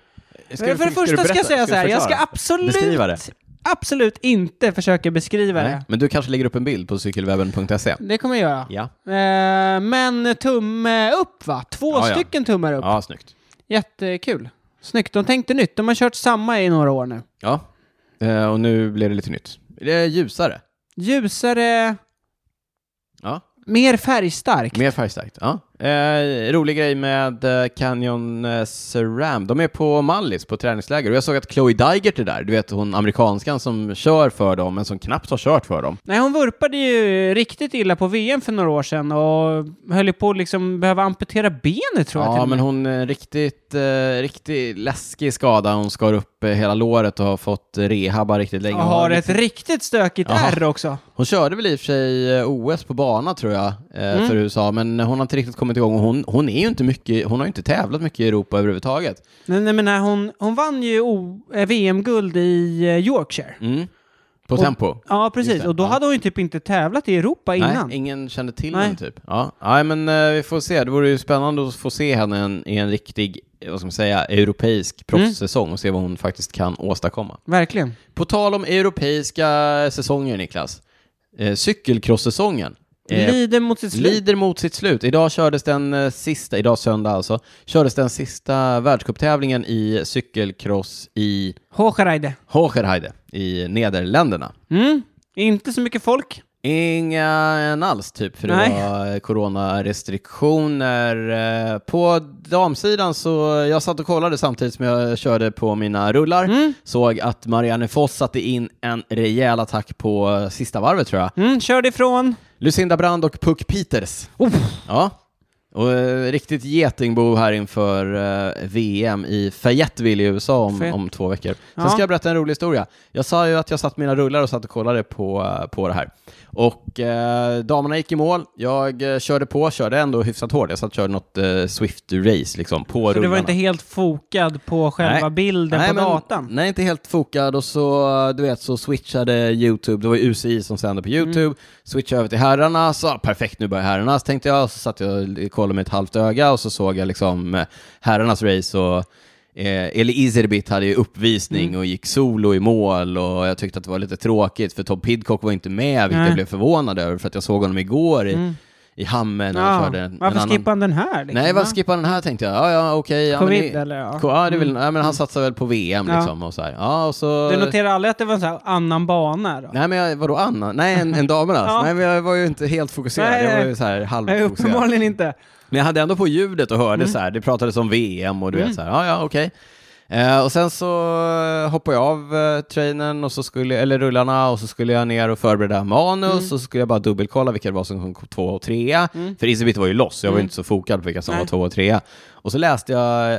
S2: Ska
S1: Men
S2: du-
S1: för det
S2: ska du
S1: första ska
S2: berätta?
S1: jag säga
S2: du
S1: så här, jag ska
S2: förklara? Beskriva det.
S1: absolut, absolut inte försöka beskriva
S2: Nej,
S1: det.
S2: men du kanske lägger upp en bild på cykelwebben.se?
S1: Det kommer jag göra.
S2: Ja.
S1: Eh, men tumme upp va? Två
S2: Ja, ja.
S1: stycken tummar upp.
S2: Ja, snyggt.
S1: Jättekul. Snyggt, de tänkte nytt. De har kört samma i några år nu.
S2: Ja. Eh, och nu blir det lite nytt. Det är ljusare.
S1: Ljusare,
S2: Ja.
S1: Mer färgstark.
S2: Mer färgstarkt. Ja. Eh, rolig grej med eh, Canyon eh, Ceram. De är på Mallis på träningsläger och jag såg att Chloe Dygert är där. Du vet hon amerikanskan som kör för dem men som knappt har kört för dem.
S1: Nej, hon vurpade ju riktigt illa på VM för några år sedan och höll ju på att liksom behöva amputera benet tror jag till
S2: Ja,
S1: och
S2: men
S1: med.
S2: hon är riktigt, eh, riktigt läskig skada. Hon skar upp eh, hela låret och har fått rehabba riktigt länge.
S1: och
S2: Hon
S1: har
S2: liksom-
S1: ett riktigt stökigt
S2: Jaha.
S1: ärr också.
S2: Hon körde väl i och för sig eh, OS på bana tror jag eh,
S1: Mm.
S2: för USA, men hon har inte riktigt kommit igång och hon, hon är ju inte mycket, hon har ju inte tävlat mycket i Europa överhuvudtaget.
S1: Nej, nej, men nej, hon, hon vann ju o- eh, VM-guld i eh, Yorkshire.
S2: Mm. På
S1: Och-
S2: tempo.
S1: Ja,
S2: Just
S1: precis.
S2: det,
S1: Och då
S2: ja.
S1: hade hon ju typ inte tävlat i Europa innan.
S2: Nej, ingen kände till
S1: Nej.
S2: henne typ. Ja, Nej, men eh, vi får se. Det vore ju spännande att få se henne i en, i en riktig, eh, vad ska man säga,
S1: Mm.
S2: europeisk proffssäsong och se vad hon faktiskt kan åstadkomma.
S1: Verkligen.
S2: På tal om europeiska säsonger, Niklas. Eh, cykelcross-säsongen. eh,
S1: Lider mot sitt slut.
S2: Lider mot sitt slut. Idag kördes den eh, sista, idag söndag alltså, kördes den sista världscuptävlingen i cykelcross i
S1: Håkareide.
S2: Hogerheide i Nederländerna.
S1: Mm. Inte så mycket folk.
S2: Inga en alls typ, för det
S1: Nej.
S2: var eh, coronarestriktioner. Eh, På damsidan så, jag satt och kollade samtidigt som jag körde på mina rullar,
S1: Mm.
S2: såg att Marianne Foss satte in en rejäl attack på eh, sista varvet tror jag.
S1: Mm, körde ifrån.
S2: Lucinda Brand och Puck Peters.
S1: Oh,
S2: Ja, Och eh, riktigt getingbo här inför eh, VM i Fayetteville i USA om,
S1: Fayette.
S2: om två veckor. Sen
S1: Ja.
S2: ska jag berätta en rolig historia. Jag sa ju att jag satt mina rullar och satt och kollade på, eh, på det här. Och eh, damerna gick i mål, jag eh, körde på, körde ändå hyfsat hårt. Jag satt och körde något eh, Swift-race liksom på
S1: Så du var
S2: rullarna.
S1: inte helt fokad på själva
S2: Nej.
S1: bilden på
S2: men-
S1: datan?
S2: Nej, inte helt fokad och så, du vet, så switchade YouTube, det var ju UCI som sände på
S1: Mm.
S2: YouTube, switchade över till herrarnas, så, ah, perfekt nu börjar herrarnas tänkte jag, och så satt jag och kollade med ett halvt öga och så såg jag liksom eh, herrarnas race och Eh, Eli Izerbit hade ju uppvisning
S1: Mm.
S2: och gick solo i mål och jag tyckte att det var lite tråkigt för Tom Pidcock var inte med, vilket
S1: Nej.
S2: jag blev förvånad över för att jag såg honom igår i,
S1: Mm.
S2: i Hammen när han
S1: Ja.
S2: körde en,
S1: Varför
S2: en annan...
S1: skippade han den här? Liksom?
S2: Nej,
S1: va?
S2: varför skippade han den här tänkte jag? Ja, ja, okej. ja, men
S1: Covid
S2: det-
S1: eller? Ja. Mm.
S2: Ko- Ja, det är väl, ja, men han satsar väl på VM
S1: Ja.
S2: liksom och så här. Ja, och så...
S1: Du noterar aldrig att det var en sån här annan bana? Då?
S2: Nej men jag, vadå Anna? Nej, en, en damernas.
S1: Ja.
S2: Nej men jag var ju inte helt fokuserad,
S1: Nej,
S2: jag var ju
S1: nej.
S2: så här
S1: Nej,
S2: halvfokuserad.
S1: uppenbarligen inte.
S2: Men jag hade ändå på ljudet och hörde så här, det pratades om VM och du vet så här, ja ja okej. Eh, och sen så hoppade jag av eh, trainen, och så skulle, eller rullarna, och så skulle jag ner och förbereda manus, och så skulle jag bara dubbelkolla vilka det var som kom två och trea. För Isabit var ju loss, så jag var inte så fokad på vilka som
S1: Nej.
S2: var två och trea. Och så läste jag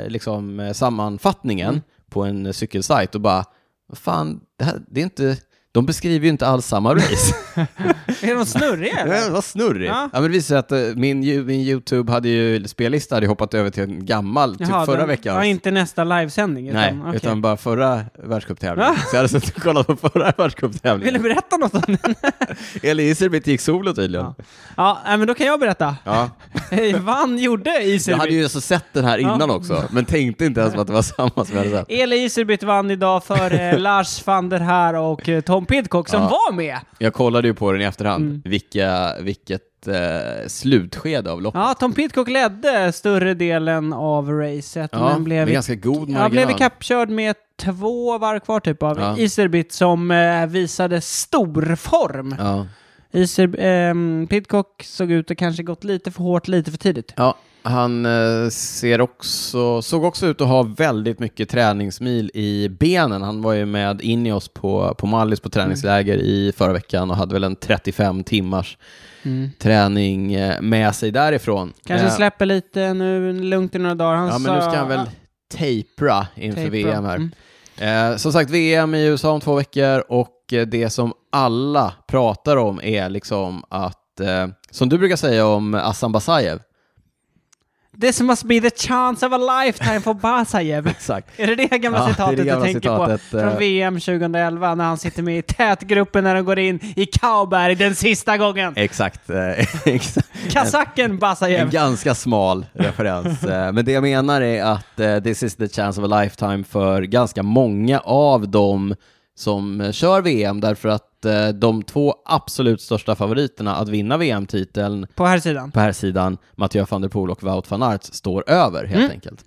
S2: eh, liksom eh, sammanfattningen på en eh, cykelsajt och bara, vad fan, det, här, det är inte, de beskriver ju inte alls samma race.
S1: Är de snurriga
S2: Ja,
S1: eller?
S2: vad snurrigt. Ja.
S1: Ja.
S2: men det visade sig att eh, min, ju- min YouTube hade ju, spellista hade ju hoppat över till en gammal, typ
S1: Jaha,
S2: förra
S1: den-
S2: veckans.
S1: Ja, inte nästa livesändning. Utan,
S2: Nej,
S1: okej.
S2: utan bara förra världscuptävlingen.
S1: Va?
S2: Så jag hade suttit och kollat på förra
S1: Vill du
S2: världscuptävlingen.
S1: berätta något om den?
S2: Eli Iserbit gick solo tydligen. Ja.
S1: Ja. Ja, nej, men då kan jag berätta. Hej, Vann gjorde
S2: Jag
S1: Iserbit.
S2: hade ju alltså sett den här
S1: Ja.
S2: innan också, men tänkte inte ens på att det var samma som jag hade sett.
S1: Eli Iserbit vann idag för eh, Lars van der Haar och eh, Tom Pidcock som
S2: Ja.
S1: var med.
S2: Jag kollade ju på den i efterhand, vilka, vilket eh, slutskede av loppet.
S1: Ja, Tom Pidcock ledde större delen av racet, men blev,
S2: med ganska god marginal.
S1: ja, blev ikappkörd med två varv kvar typ av
S2: Ja.
S1: Iserbit som eh, visade stor form.
S2: Ja.
S1: Iser, ehm, Pidcock såg ut att kanske gått lite för hårt, lite för tidigt.
S2: Ja, han eh, ser också, såg också ut att ha väldigt mycket träningsmil i benen. Han var ju med in i oss på, på Mallis på träningsläger i förra veckan och hade väl en 35 timmars Mm. träning eh, med sig därifrån.
S1: Kanske
S2: Eh,
S1: släpper lite nu, lugnt i några dagar. Han
S2: Ja, men
S1: sa- "Ah,
S2: nu ska han väl tapera inför
S1: Tape
S2: VM
S1: bra.
S2: här.
S1: Mm.
S2: Eh, som sagt, VM i USA om två veckor och eh, det som alla pratar om är liksom att, eh, som du brukar säga om Assan Basajev,
S1: This must be the chance of a lifetime for Basajev.
S2: exakt,
S1: Är det det gamla
S2: Ja, det är
S1: citatet
S2: det gamla
S1: du tänker
S2: citatet,
S1: på?
S2: eh.
S1: Från VM 2011 när han sitter med i tätgruppen när de går in i Kauberg den sista gången.
S2: exakt, eh, exakt.
S1: Kazacken
S2: En
S1: Basajev.
S2: ganska smal referens. Eh, Men det jag menar är att eh, this is the chance of a lifetime för ganska många av dem som eh, kör VM därför att eh, de två absolut största favoriterna att vinna VM-titeln
S1: På här sidan.
S2: på här sidan, Mathieu van der Poel och Wout van Aert, står över helt
S1: Mm.
S2: enkelt.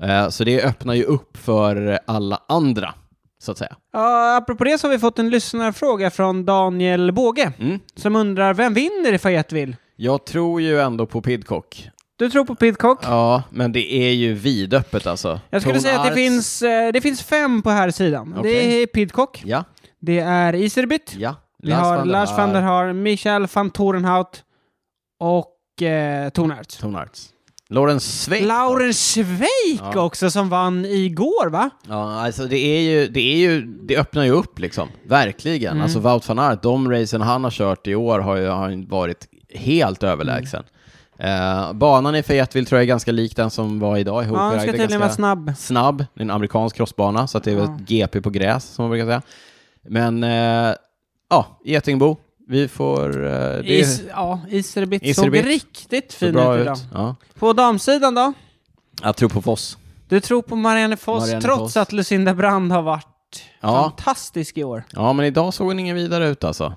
S2: Eh, Så det öppnar ju upp för alla andra, så att säga.
S1: Ja, apropå det så har vi fått en lyssnarfråga från Daniel Båge
S2: Mm.
S1: som undrar vem vinner i Fayetteville?
S2: Jag tror ju ändå på Pidcock.
S1: Du tror på Pidcock?
S2: Ja, men det är ju vidöppet alltså.
S1: Jag skulle
S2: Tone
S1: säga att det
S2: Arts-
S1: finns, eh, det finns fem på här sidan. Det
S2: Okej.
S1: är Pidcock,
S2: Ja,
S1: det är Iserbit,
S2: ja.
S1: vi har
S2: der
S1: Lars van der
S2: Haar.
S1: Haar, Michael van Torenhout och eh, Tornarts.
S2: Tone Arts. Lawrence Sveik.
S1: Lauren Schweik
S2: Ja.
S1: också som vann igår va?
S2: Ja, alltså det är ju, det är ju, det öppnar ju upp liksom. Verkligen.
S1: Mm.
S2: Alltså Wout van Aert, de racen han har kört i år har ju har ju varit helt överlägsen. Eh, banan i Fayetteville tror jag är ganska lik den som var idag i
S1: Mm. Ja, han
S2: Hochberg.
S1: ska
S2: Det är
S1: tydligen vara
S2: ganska
S1: snabb.
S2: snabb. Det är en amerikansk crossbana, så att det är väl ett GP på gräs, som man brukar säga. Men, eh, ja, Getingbo. Vi får... Eh, det
S1: Is, ja, Iserbit såg
S2: Iserbit.
S1: riktigt
S2: ser
S1: fin
S2: bra
S1: ut
S2: ut.
S1: idag.
S2: Ja.
S1: På damsidan då?
S2: Jag tror på Foss.
S1: Du tror på Marianne Foss
S2: Marianne
S1: trots
S2: Foss.
S1: att Lucinda Brand har varit
S2: Ja.
S1: fantastisk i år.
S2: Ja, men idag såg hon ingen vidare ut alltså.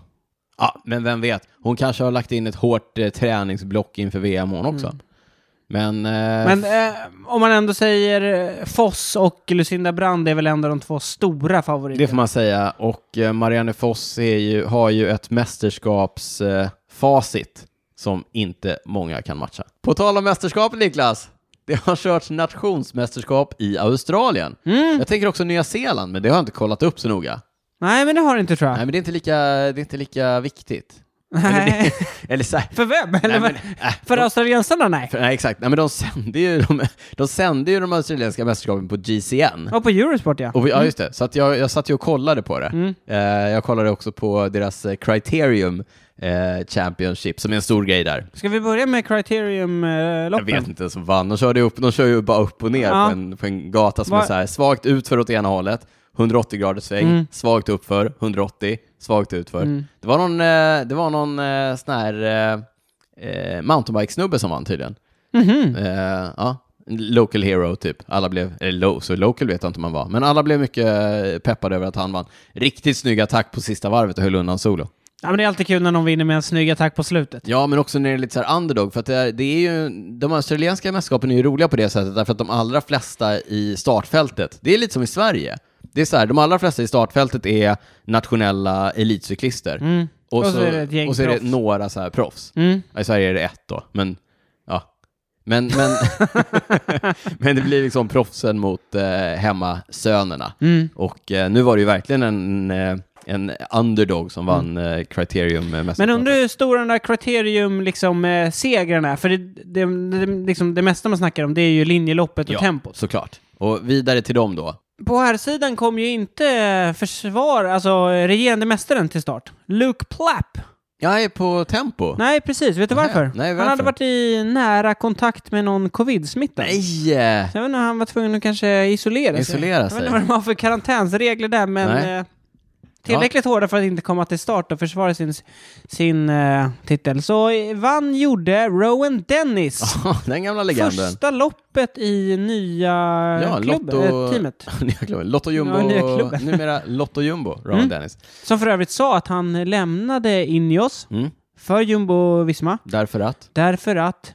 S2: Ja, men vem vet? Hon kanske har lagt in ett hårt eh, träningsblock inför VM hon också. Mm. Men, eh,
S1: Men eh, om man ändå säger eh, Foss och Lucinda Brand är väl ändå de två stora favoriterna.
S2: det får man säga. Och eh, Marianne Foss är ju, har ju ett mästerskapsfacit som inte många kan matcha. På tal om mästerskapet Niklas, det har körts nationsmästerskap i Australien. Jag tänker också Nya Zeeland, men det har jag inte kollat upp så noga. Ah.
S1: Nej, men det har det inte tror jag.
S2: Nej, men det är inte lika, det är inte lika viktigt. Eller,
S1: Nej.
S2: det- eller så här,
S1: För vem? Eller
S2: nej, men,
S1: vad-
S2: äh,
S1: för australiensarna? Nej.
S2: för, nej, exakt. Nej, men de sände ju de, de, sände ju de australiensiska mästerskapen på GCN.
S1: Ja, på Eurosport ja.
S2: Och vi, ja, just det. Så att jag, jag satt ju och kollade på det. Eh, jag kollade också på deras eh, Criterium eh, Championship, som är en stor grej där.
S1: Ska vi börja med
S2: Jag
S1: Criterium-loppen?
S2: vet inte ens som vann. De, körde ju upp, de kör ju bara upp och ner
S1: Ja.
S2: på, en, på en gata som
S1: Va-
S2: är så här, svagt utför åt ena hållet, 180 graders sväng, svagt uppför, 180, svagt utför. Det var någon, eh, det var någon eh, sån här eh, eh, mountainbike-snubbe som vann tydligen.
S1: Mhm.
S2: Eh, ja. En Local hero typ. Alla blev, eller lo, så local vet jag inte om han var, men alla blev mycket eh, peppade över att han vann. Riktigt snygg attack på sista varvet och höll undan solo.
S1: Ja, men det är alltid kul när någon vinner med en snygg attack på slutet.
S2: Ja, men också när det är lite så här underdog, för att det är, det är ju, de australiensiska mästerskapen är ju roliga på det sättet, därför att de allra flesta i startfältet, det är lite som i Sverige. Det är så här, de allra flesta i startfältet är nationella elitcyklister.
S1: Mm. Och så är det ett gäng
S2: och så är det
S1: proffs.
S2: några så här proffs.
S1: Mm.
S2: Ja, I Sverige är det ett då, men ja. Men, men, men det blir liksom proffsen mot eh, hemmasönerna.
S1: Mm.
S2: Och eh, nu var det ju verkligen en, eh, en underdog som vann eh, criterium eh,
S1: Mm. Men
S2: mästerskapen.
S1: undrar hur stora den där kriterium liksom, eh, segern är, för det, det, det, liksom, det mesta man snackar om det är ju linjeloppet och tempot.
S2: såklart. Och vidare till dem då.
S1: På här sidan kom ju inte eh, försvar, alltså regerande mästaren till start. Luke Plapp.
S2: Jag är på tempo.
S1: Nej, precis. Vet du
S2: Nej,
S1: varför?
S2: nej,
S1: Han hade
S2: varför?
S1: varit i nära kontakt med någon covid-smitta.
S2: Nej! eh,
S1: Jag vet inte, han var tvungen att kanske isolera, sig.
S2: Isolera
S1: Jag vet
S2: sig.
S1: inte vad de har för karantänsregler där, men
S2: Nej.
S1: eh, tillräckligt hårda för att inte komma till start och försvara sin, sin eh, titel. Så eh, vann gjorde Rowan Dennis.
S2: Den gamla legenden.
S1: Första loppet i nya
S2: Ja,
S1: klubben, eh, teamet.
S2: Nya klubben. Lotto Jumbo,
S1: Ja, nya klubben.
S2: numera Lotto Jumbo, Ron
S1: Mm.
S2: Dennis.
S1: Som för övrigt sa att han lämnade Ineos
S2: Mm.
S1: för Jumbo Visma
S2: Därför att,
S1: därför att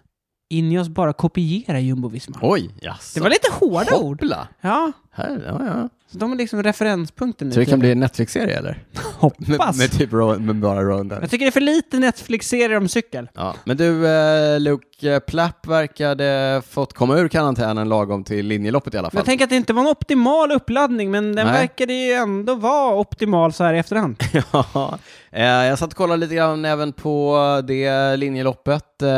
S1: Ineos bara kopierar Jumbo Visma.
S2: oj, jaså.
S1: Det var lite hårda ord.
S2: Hoppla!
S1: Ja,
S2: Här, ja, ja.
S1: så de är liksom referenspunkten nu.
S2: Tror det kan bli en Netflix-serie eller? Med,
S1: Hoppas. typ-
S2: med typ Ron, med bara Ron Dennis.
S1: Jag tycker det är för lite Netflix-serier om cykel.
S2: Ja, men du, eh, Luke eh, Plapp verkade fått komma ur karantänen lagom till linjeloppet i alla
S1: Men
S2: fall.
S1: jag tänker att det inte var en optimal uppladdning, men den
S2: Nej.
S1: verkade ju ändå vara optimal så här i efterhand.
S2: Ja, eh, jag satt och kollade lite grann även på det linjeloppet. Eh,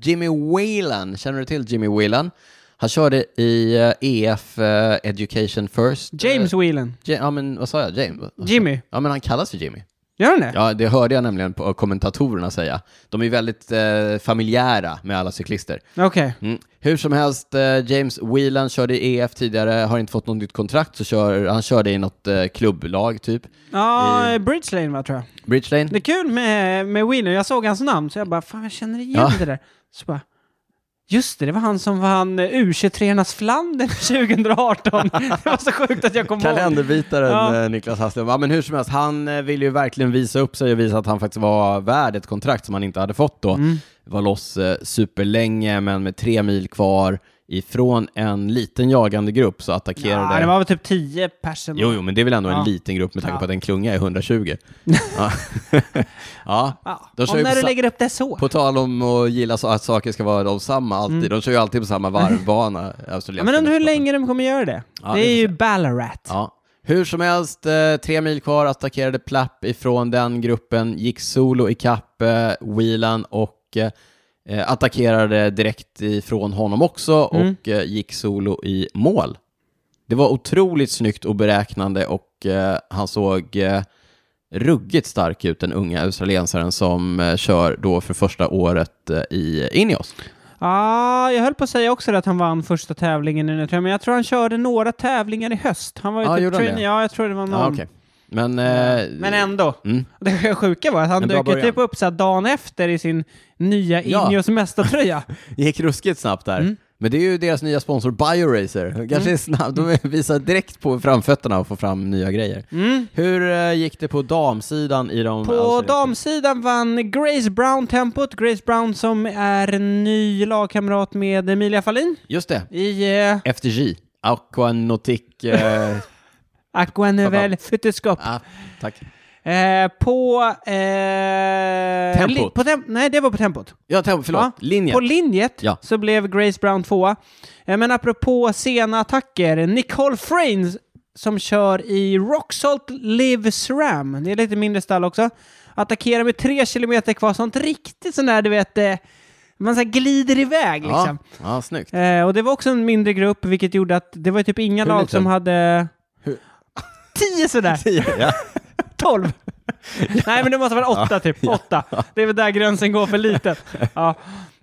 S2: Jimmy Whelan, känner du till Jimmy Whelan? Han körde i eh, EF eh, Education First. Eh,
S1: James Whelan.
S2: Ja, ja, men vad sa jag? James?
S1: Jimmy.
S2: Ja, men han kallas ju Jimmy.
S1: Gör han det?
S2: Ja, det hörde jag nämligen på eh, kommentatorerna säga. De är ju väldigt eh, familjära med alla cyklister.
S1: Okej.
S2: Mm. Hur som helst, eh, James Whelan körde i EF tidigare, har inte fått något nytt kontrakt, så kör, han körde i något eh, klubblag typ.
S1: Ja, Bridge Lane va, tror jag.
S2: Bridge Lane?
S1: Det är kul med, med Wheeler. Jag såg hans namn, så jag bara, fan jag känner igen
S2: Ja.
S1: det där. Så bara, just det, det var han som vann eh, U23-ornas Flandern 2018. det var så sjukt att jag kom ihåg.
S2: Kalenderbitaren
S1: Ja.
S2: eh, Niklas Hasslum. Ja, men hur som helst, han eh, ville ju verkligen visa upp sig och visa att han faktiskt var värd ett kontrakt som han inte hade fått då.
S1: Mm.
S2: Var loss eh, superlänge, men med tre mil kvar ifrån en liten jagande grupp så attackerade...
S1: Ja, det var väl typ 10 personer.
S2: Jo, jo, men det är väl ändå
S1: Ja.
S2: en liten grupp med tanke
S1: Ja.
S2: på att en klunga är 120. ja. ja.
S1: Ja.
S2: De kör
S1: Om
S2: ju
S1: när
S2: på
S1: du
S2: sa-
S1: lägger upp det så.
S2: På tal om att gilla så att saker ska vara de samma alltid. De kör ju alltid på samma varvbana,
S1: Mm. Ja,
S2: Australien.
S1: men undrar hur länge de kommer göra det.
S2: Ja,
S1: det
S2: vi
S1: är
S2: får
S1: ju Ballarat.
S2: Ja. Hur som helst, eh, tre mil kvar, attackerade Plapp ifrån den gruppen, gick solo i kapp eh, Whelan och eh, attackerade direkt ifrån honom också
S1: Mm.
S2: och eh, gick solo i mål. Det var otroligt snyggt och beräknande och eh, han såg eh, ruggigt stark ut, den unga australiensaren som eh, kör då för första året eh, i Ineos.
S1: Ja, jag höll på att säga också det att han vann första tävlingen i den här tröjan, men jag tror han körde några tävlingar i höst. Han var ju
S2: Ja,
S1: typ
S2: gjorde han det?
S1: trainee- Ja, jag tror det var någon.
S2: Ja, okej. Men, eh,
S1: Men ändå.
S2: Mm.
S1: Det sjuka var att han
S2: En bra
S1: dök ju
S2: början.
S1: typ upp så här dagen efter i sin nya
S2: Ja.
S1: Ineos mästartröja.
S2: Det gick ruskigt snabbt där.
S1: Mm.
S2: Men det är ju deras nya sponsor Bioracer. Kanske är snabbt. De visar direkt på framfötterna och får fram nya grejer. Hur eh, gick det på damsidan i de...
S1: Mm. På
S2: alltså,
S1: damsidan vann Grace Brown tempot. Grace Brown som är ny lagkamrat med Emilia Fahlin
S2: Just det.
S1: i eh,
S2: FDJ. Aquanautic... Eh,
S1: Aqua Nouvelle Futteskop.
S2: ah, tack.
S1: Eh, på... Eh,
S2: Tempot.
S1: li- På tem- nej, det var på tempot.
S2: Ja, tem- förlåt.
S1: Ja,
S2: Linjen.
S1: På linjet
S2: Ja.
S1: så blev Grace Brown tvåa. Eh, men apropå sena attacker, Nicole Frains som kör i Rocksalt Live SRAM. Det är lite mindre stall också. Attackerar med tre kilometer kvar, sånt riktigt sån där du vet, eh, man så här glider iväg liksom.
S2: Ja, ja snyggt.
S1: Eh, och det var också en mindre grupp, vilket gjorde att det var ju typ inga
S2: Hur
S1: lag
S2: liten?
S1: som hade...
S2: Hur-
S1: Tio sådär!
S2: Ja.
S1: Tolv! Nej, men det måste vara åtta typ. Åtta. Det är väl där gränsen går för litet. Ja.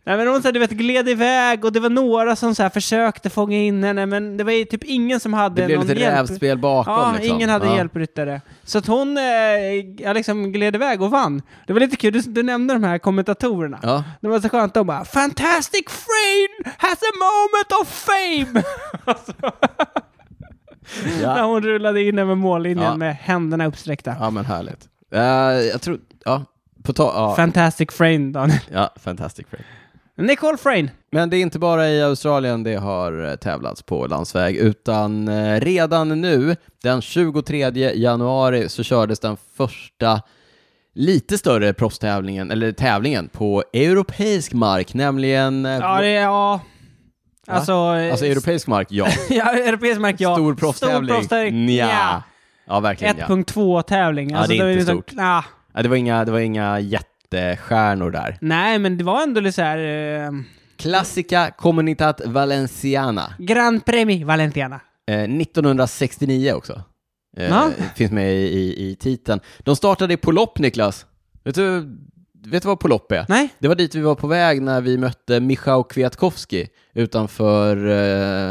S1: Nej, men de så här, du vet, gled iväg och det var några som så här, försökte fånga in henne, men det var ju typ ingen som hade
S2: Det blev
S1: någon
S2: lite
S1: hjälp.
S2: rävspel bakom.
S1: Ja,
S2: liksom.
S1: ingen hade
S2: Ja.
S1: hjälpryttare. Så att hon eh, ja, liksom gled iväg och vann. Det var lite kul, du, du nämnde de här kommentatorerna.
S2: Ja.
S1: Det var så skönt, de bara “Fantastic Frame has a moment of fame!” När
S2: Ja.
S1: hon rullade in över mållinjen
S2: Ja.
S1: med händerna uppsträckta.
S2: ja, men härligt. Eh, jag tror... Ja, på ta- ja.
S1: Fantastic Frame, Daniel.
S2: ja, fantastic break.
S1: Nicole Frame.
S2: Men det är inte bara i Australien det har eh, tävlats på landsväg, utan eh, redan nu, den 23 januari, så kördes den första lite större proffstävlingen, eller tävlingen, på europeisk mark, nämligen... eh,
S1: Ja, det är... Ja. Alltså... eh,
S2: Alltså europeisk mark, ja.
S1: ja, europeisk mark, ja.
S2: Stor proffstävling,
S1: nja.
S2: nja. Ja, verkligen ja.
S1: 1.2-tävling.
S2: Ja, det är inte stort.
S1: Nah.
S2: ja. Det var inga, det var inga jättestjärnor där.
S1: Nej, men det var ändå lite så här... Eh,
S2: Classica Comunitat Valenciana.
S1: Grand Premi Valentiana.
S2: Eh, 1969 också. Eh,
S1: Ja.
S2: Finns med i, i, i titeln. De startade i Polop, Niklas. Vet du, vet du vad Polop är?
S1: Nej?
S2: Det var dit vi var på väg när vi mötte Michał Kwiatkowski utanför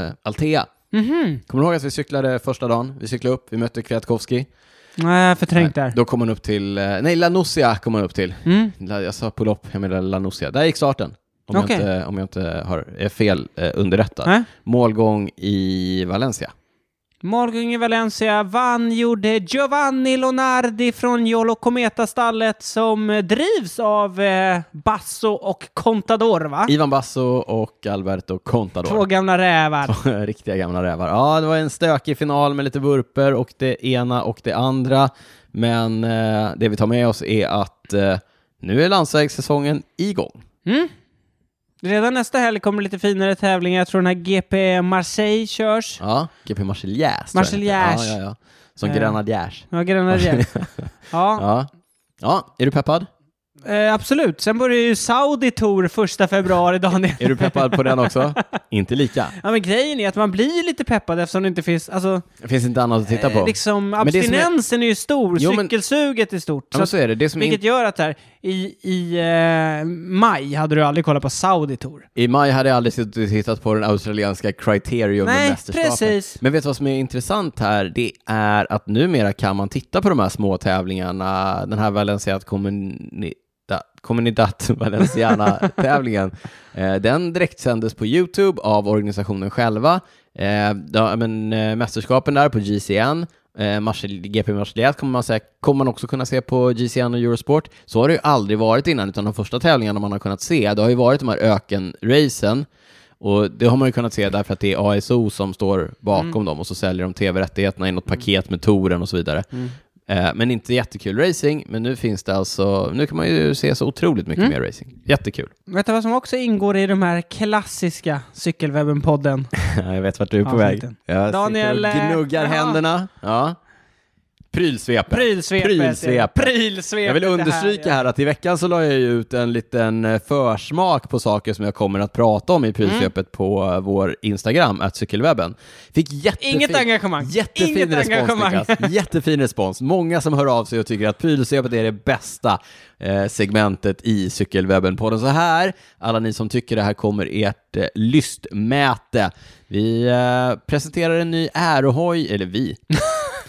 S2: eh, Altea.
S1: Mhm.
S2: Kommer du ihåg att vi cyklade första dagen? Vi cyklade upp, vi mötte Kwiatkowski.
S1: Nej, jag förträngt där.
S2: Då kom han upp till, eh, nej, Lanusia kom han upp till.
S1: Mm.
S2: La- Jag sa Polop, jag menar Lanusia. Där gick starten. Om,
S1: Okej.
S2: jag, inte, om jag inte har, är fel eh, underrättad.
S1: Nej.
S2: Målgång i Valencia.
S1: Morgan i Valencia vann gjorde Giovanni Lonardi från Jolo Cometa-stallet som eh, drivs av eh, Basso och Contador, va?
S2: Ivan Basso och Alberto Contador.
S1: Två gamla rävar.
S2: Riktiga gamla rävar. Ja, det var en stökig final med lite vurper och det ena och det andra. Men eh, det vi tar med oss är att eh, nu är landsvägssäsongen igång.
S1: Mm. Redan nästa helg kommer lite finare tävlingar. Jag tror den här GP Marseille körs.
S2: Ja, GP Marseljäs.
S1: Marseljäs.
S2: Ja, ja, ja. Som
S1: Eh.
S2: Grenadiers.
S1: Ja, Grenadier. Ja,
S2: Ja. ja, är du peppad?
S1: eh, absolut. Sen börjar ju Saudi Tour första februari, Daniel.
S2: Är du peppad på den också? inte lika.
S1: Ja, men grejen är att man blir lite peppad eftersom det inte finns... Alltså,
S2: Det finns inte annat att titta på.
S1: eh, liksom,
S2: Men det som är-
S1: abstinensen är... ju stor,
S2: Jo, men-
S1: cykelsuget är stort.
S2: ja,
S1: Så
S2: men
S1: att,
S2: så är det. det som
S1: vilket
S2: in...
S1: gör att här, i, i eh, maj hade du aldrig kollat på Saudi Tour.
S2: I maj hade jag aldrig suttit och tittat på den australienska Criterium
S1: Nej,
S2: mästerskapet.
S1: precis.
S2: Men vet du vad som är intressant här? Det är att numera kan man titta på de här små tävlingarna, den här Valenciat Comunida- Comunidad Valenciana-tävlingen. Eh, den direktsändes på YouTube av organisationen själva. Eh, ja, men, eh, mästerskapen där på GCN, eh, Marseille- GP Marseljäs kommer man, säkert, kommer man också kunna se på GCN och Eurosport. Så har det ju aldrig varit innan, utan de första tävlingarna man har kunnat se, det har ju varit de här ökenracen, och det har man ju kunnat se därför att det är ASO som står bakom
S1: Mm.
S2: dem och så säljer de tv-rättigheterna i något paket med touren och så vidare.
S1: Mm.
S2: Eh, men inte jättekul racing, men nu finns det alltså, nu kan man ju se så otroligt mycket
S1: Mm.
S2: mer racing. Jättekul.
S1: Vet du vad som också ingår i de här klassiska Cykelwebben-podden?
S2: jag vet vart du är
S1: på väg. Avsnitten.
S2: Jag
S1: Daniel,
S2: Daniel, och
S1: eh,
S2: gnuggar
S1: ja.
S2: händerna. Ja. Prylsvepet.
S1: Prylsvepet.
S2: Prylsvepet.
S1: Prylsvepet
S2: Jag vill
S1: det här,
S2: understryka
S1: ja.
S2: här att i veckan så la jag ju ut en liten eh, försmak på saker som jag kommer att prata
S1: Mm.
S2: om i prylsvepet på eh, vår Instagram, att cykelwebben. Fick jättefin,
S1: Inget engagemang.
S2: Jättefin
S1: Inget
S2: respons,
S1: engagemang.
S2: Niklas. Jättefin respons. Många som hör av sig och tycker att prylsvepet är det bästa eh, segmentet i cykelwebben-podden. Så här, alla ni som tycker det här kommer ert eh, lystmäte. Vi eh, presenterar en ny ärohoj, eller vi,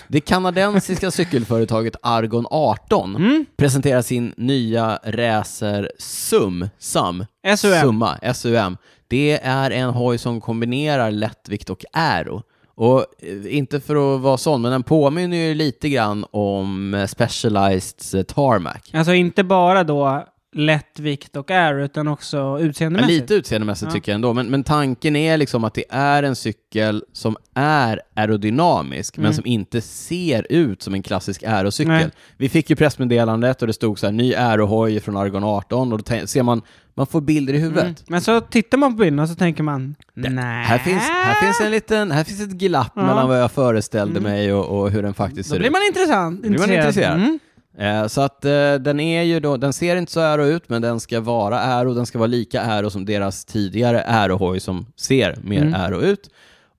S2: det kanadensiska cykelföretaget Argon 18
S1: Mm.
S2: presenterar sin nya racer SUM. SUM.
S1: SUM.
S2: Summa, SUM. Det är en hoj som kombinerar lättvikt och aero. Och eh, inte för att vara sån, men den påminner ju lite grann om eh, Specializeds eh, Tarmac.
S1: Alltså inte bara då lätt vikt och är, utan också
S2: Ja,
S1: utseendemässigt.
S2: lite utseendemässigt
S1: Ja.
S2: tycker jag ändå, men, men tanken är liksom att det är en cykel som är aerodynamisk, men som inte ser ut som en klassisk aerocykel.
S1: Mm. Nej.
S2: Vi fick ju pressmeddelandet och det stod så här, ny aerohoj från Argon 18 och då tän- ser man, man får bilder i huvudet.
S1: Men så tittar man på bilden och så tänker man, nej.
S2: Här, finns, här, finns en liten, här finns ett glapp
S1: Äh. Ja.
S2: mellan vad jag föreställde mig och, och hur den faktiskt
S1: Då
S2: ser
S1: blir
S2: ut.
S1: man intressant.
S2: blir man intresserad.
S1: Mm.
S2: Eh, så att eh, den är ju då, den ser inte så aero ut, men den ska vara aero, den ska vara lika aero som deras tidigare aerohoj som ser mer
S1: Mm.
S2: aero ut.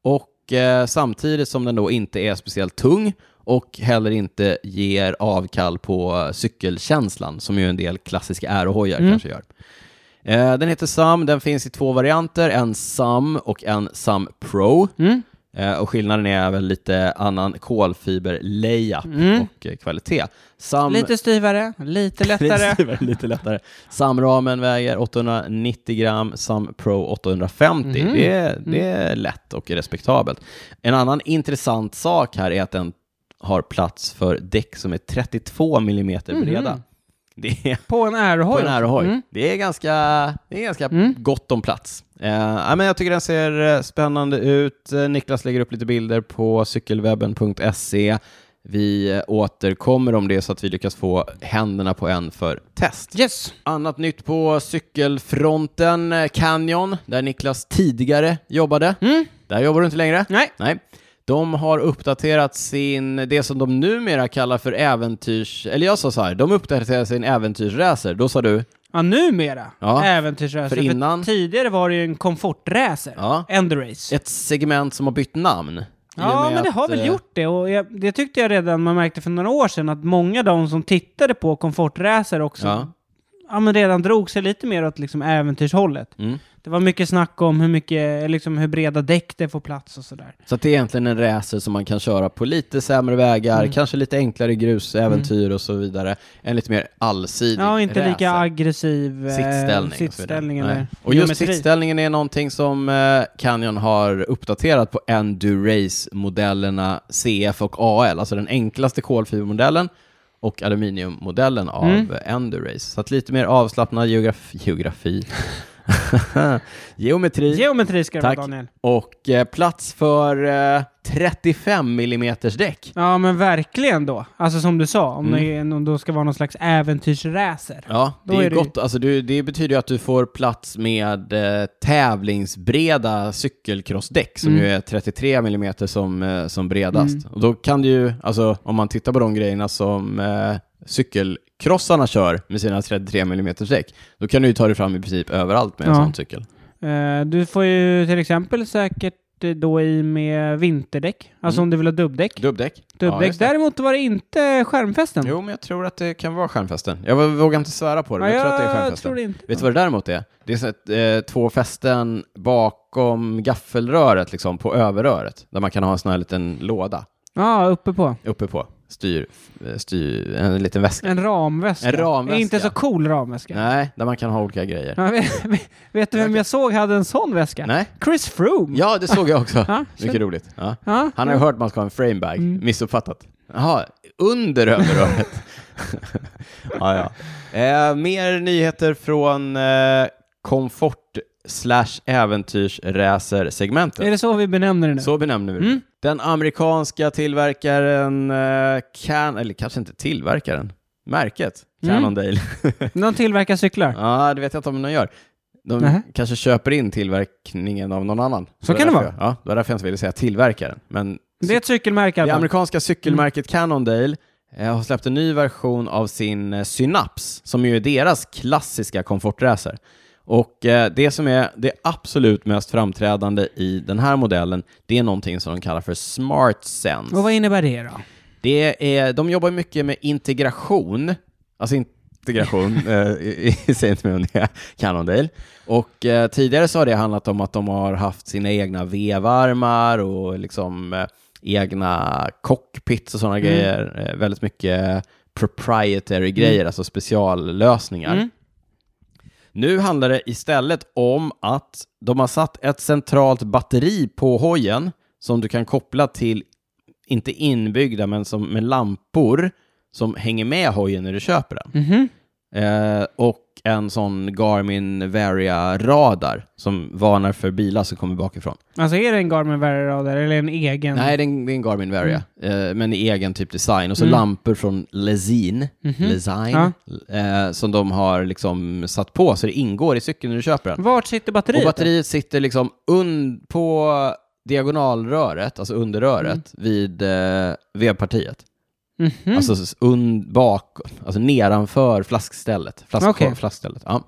S2: Och eh, samtidigt som den då inte är speciellt tung och heller inte ger avkall på eh, cykelkänslan som ju en del klassiska aerohojar
S1: Mm.
S2: kanske gör. Eh, den heter SAM, den finns i två varianter, en SAM och en SAM Pro.
S1: Mm.
S2: Eh, Och skillnaden är väl lite annan kolfiber-layup
S1: Mm.
S2: och eh, kvalitet. Sam...
S1: Lite styvare, lite lättare.
S2: Lite, lite lättare. Samramen väger 890 gram, Sam Pro 850.
S1: Mhm.
S2: Det, är, det är lätt och respektabelt. En annan intressant sak här är att den har plats för däck som är 32 mm breda.
S1: Mhm.
S2: Det är
S1: På en
S2: på
S1: aerohoj.
S2: en aerohoj.
S1: Mm.
S2: Det är ganska, det är ganska
S1: Mm.
S2: gott om plats. Eh, ja, men jag tycker den ser eh, spännande ut. Eh, Niklas lägger upp lite bilder på cykelwebben.se. Vi eh, återkommer om det så att vi lyckas få händerna på en för test.
S1: Yes.
S2: Annat nytt på cykelfronten, eh, Canyon, där Niklas tidigare jobbade.
S1: Mm.
S2: Där jobbar du inte längre.
S1: Nej.
S2: Nej. De har uppdaterat sin, det som de numera kallar för äventyrs... Eller jag sa så här, de uppdaterar sin äventyrsracer. Då sa du,
S1: Ja, numera.
S2: Ja.
S1: Äventyrsracer.
S2: För innan-
S1: tidigare var det ju en komfortracer.
S2: Ja.
S1: Endurace.
S2: ett segment som har bytt namn. I och
S1: Ja,
S2: med
S1: men det
S2: att,
S1: har väl
S2: eh,
S1: gjort det. Och jag, det tyckte jag redan man märkte för några år sedan att många av de som tittade på komfortracer också
S2: Ja.
S1: ja. men redan drog sig lite mer åt liksom äventyrshållet.
S2: Mm.
S1: Det var mycket snack om hur, mycket, liksom, hur breda däck det får plats och sådär.
S2: Så att det är egentligen en racer som man kan köra på lite sämre vägar,
S1: Mm.
S2: kanske lite enklare grusäventyr och så vidare. En lite mer allsidig
S1: Ja, och inte
S2: racer.
S1: lika aggressiv eh,
S2: sittställning. och så vidare.
S1: sittställning
S2: Nej.
S1: eller
S2: Och just
S1: geometri.
S2: sittställningen är någonting som eh, Canyon har uppdaterat på Endurace-modellerna CF och AL, alltså den enklaste kolfibermodellen och aluminiummodellen av
S1: Mm.
S2: eh, Endurace. Så att lite mer avslappnad geograf geografi, geometri
S1: Geometri ska det
S2: Tack.
S1: vara, Daniel.
S2: och eh, plats för eh, 35 mm däck.
S1: Ja, men verkligen då. Alltså som du sa, om
S2: Mm.
S1: det, om det ska vara någon slags äventyrsracer.
S2: Ja, det
S1: Då
S2: är, ju
S1: är det ju-
S2: gott. Alltså, du, det betyder ju att du får plats med eh, tävlingsbreda cykelcrossdäck som
S1: Mm.
S2: ju är 33 mm som, eh, som bredast. Och då kan du ju, alltså om man tittar på de grejerna som eh, cykelkrossarna kör med sina 33 mm däck, då kan du ju ta dig fram i princip överallt med en
S1: Ja.
S2: sån cykel.
S1: Eh, du får ju till exempel säkert eh, då i med vinterdäck. Alltså
S2: Mm.
S1: om du vill ha dubbdäck.
S2: Dubbdäck? Ja,
S1: Dubbdäck.
S2: just det.
S1: Däremot var det inte skärmfästen.
S2: Jo, men jag tror att det kan vara skärmfästen. Jag vågar inte svära på det, men
S1: Ja,
S2: jag tror att det är
S1: jag
S2: skärmfästen.
S1: tror det inte.
S2: Vet du vad det däremot är? Det är så att, eh, två fästen bakom gaffelröret, liksom, på överröret, där man kan ha en sån här liten låda
S1: Ja, uppe på.
S2: uppe på. Styr, eh, styr, en liten väska.
S1: En ramväska.
S2: En ramväska.
S1: Inte så cool ramväska.
S2: Nej, där man kan ha olika grejer.
S1: Ja, vet, vet du vem jag såg hade en sån väska?
S2: Nej?
S1: Chris Froome.
S2: Ja, det såg jag också.
S1: Ja, så-
S2: Mycket roligt. Ja.
S1: Ja, Mm.
S2: Han har ju hört att man ska ha en framebag. Missuppfattat. Jaha, under överröret. ja, ja. Eh, mer nyheter från eh, komfort slash äventyrsracer-segmentet.
S1: Är det så vi benämner det nu?
S2: Så benämner vi det.
S1: Mm.
S2: Den amerikanska tillverkaren eh, Can... Eller kanske inte tillverkaren. Märket.
S1: Mm.
S2: Cannondale.
S1: De tillverkar cyklar.
S2: ja, det vet jag inte om de gör. De
S1: Nähä.
S2: kanske köper in tillverkningen av någon annan.
S1: Så
S2: Det
S1: kan det
S2: därför
S1: vara.
S2: Jag, ja, det var därför jag inte ville säga tillverkaren. Men
S1: Det är ett cykelmärke.
S2: det
S1: Alban.
S2: amerikanska cykelmärket
S1: Mm.
S2: Cannondale eh, har släppt en ny version av sin eh, Synapse, som ju är deras klassiska komfortracer. Och eh, det som är det absolut mest framträdande i den här modellen, det är någonting som de kallar för Smart Sense.
S1: Och vad innebär det då?
S2: Det är, de jobbar mycket med integration, alltså integration, eh, i- i- säg inte mer om det, Cannondale. Och eh, tidigare så har det handlat om att de har haft sina egna vevarmar och liksom eh, egna cockpits och sådana grejer. Eh, väldigt mycket proprietary grejer, alltså speciallösningar.
S1: Mm.
S2: Nu handlar det istället om att de har satt ett centralt batteri på hojen som du kan koppla till, inte inbyggda, men som med lampor som hänger med hojen när du köper den.
S1: Mhm.
S2: Eh, och en sån Garmin Varia-radar som varnar för bilar som kommer bakifrån.
S1: Alltså är det en Garmin Varia-radar eller en egen?
S2: Nej, det är en, det är en Garmin Varia, eh, men i egen typ design. Och så
S1: Mm. Mhm.
S2: lampor från Lezin, Lezine, eh, som de har liksom satt på så det ingår i cykeln när du köper den.
S1: Vart sitter batteriet?
S2: Och
S1: då?
S2: batteriet sitter liksom und på diagonalröret, alltså under röret,
S1: Mm.
S2: vid eh, vevpartiet.
S1: Mhm.
S2: Alltså s- und, bak, alltså nedanför flaskstället. Flask,
S1: Okej.
S2: Flaskstället, ja.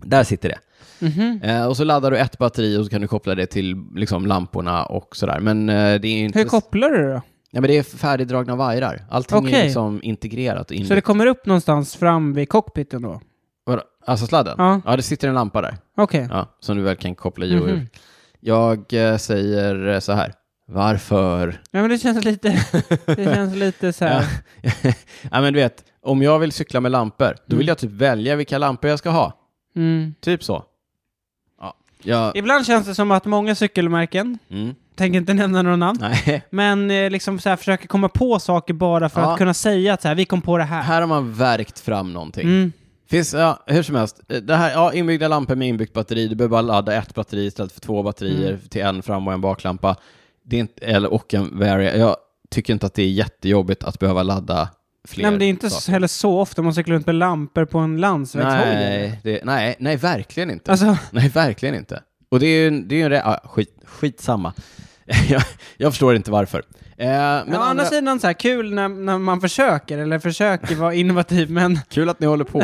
S2: Där sitter det.
S1: Mhm.
S2: Eh, och så laddar du ett batteri och så kan du koppla det till liksom, lamporna och sådär. Men eh, det är ju inte...
S1: Hur kopplar du det då?
S2: Ja, men det är färdigdragna vajrar. Allting är
S1: Okej.
S2: liksom integrerat. och
S1: Så det
S2: inbyggt.
S1: kommer upp någonstans fram vid cockpiten då?
S2: Vadå? Alltså sladden?
S1: Ja.
S2: ja, det sitter en lampa där.
S1: Okej.
S2: Ja, som du väl kan koppla i och ur.
S1: Mhm.
S2: Jag eh, säger eh, så här. Varför?
S1: Ja, men det känns lite, det känns lite så här.
S2: ja, men du vet, om jag vill cykla med lampor, då vill jag typ välja vilka lampor jag ska ha.
S1: Mm.
S2: Typ så. Ja. Jag,
S1: Ibland känns det som att många cykelmärken,
S2: mm,
S1: tänker inte nämna några namn,
S2: nej.
S1: men eh, liksom så här, försöker komma på saker bara för
S2: Ja.
S1: att kunna säga att så här, vi kom på det här.
S2: Här har man verkt fram någonting.
S1: Mm.
S2: Finns, ja, hur som helst, Eh, det här, ja, inbyggda lampor med inbyggt batteri, du behöver bara ladda ett batteri istället för två batterier
S1: Mm.
S2: till en fram och en baklampa. Det är inte, eller, och en varia. Jag tycker inte att det är jättejobbigt att behöva ladda fler.
S1: Nej, men det är inte
S2: saker.
S1: så, heller så ofta man cyklar runt med lampor på en landsvägshoj. eller?
S2: nej, det, nej, nej, verkligen inte.
S1: Alltså,
S2: Nej, verkligen inte. Och det är ju en... Det är ju en re- ah, skit, skitsamma. jag, jag förstår inte varför. Eh, men
S1: men å andra
S2: andra,
S1: sidan så här kul när, när man försöker, eller försöker vara innovativ, men
S2: Kul att ni håller på.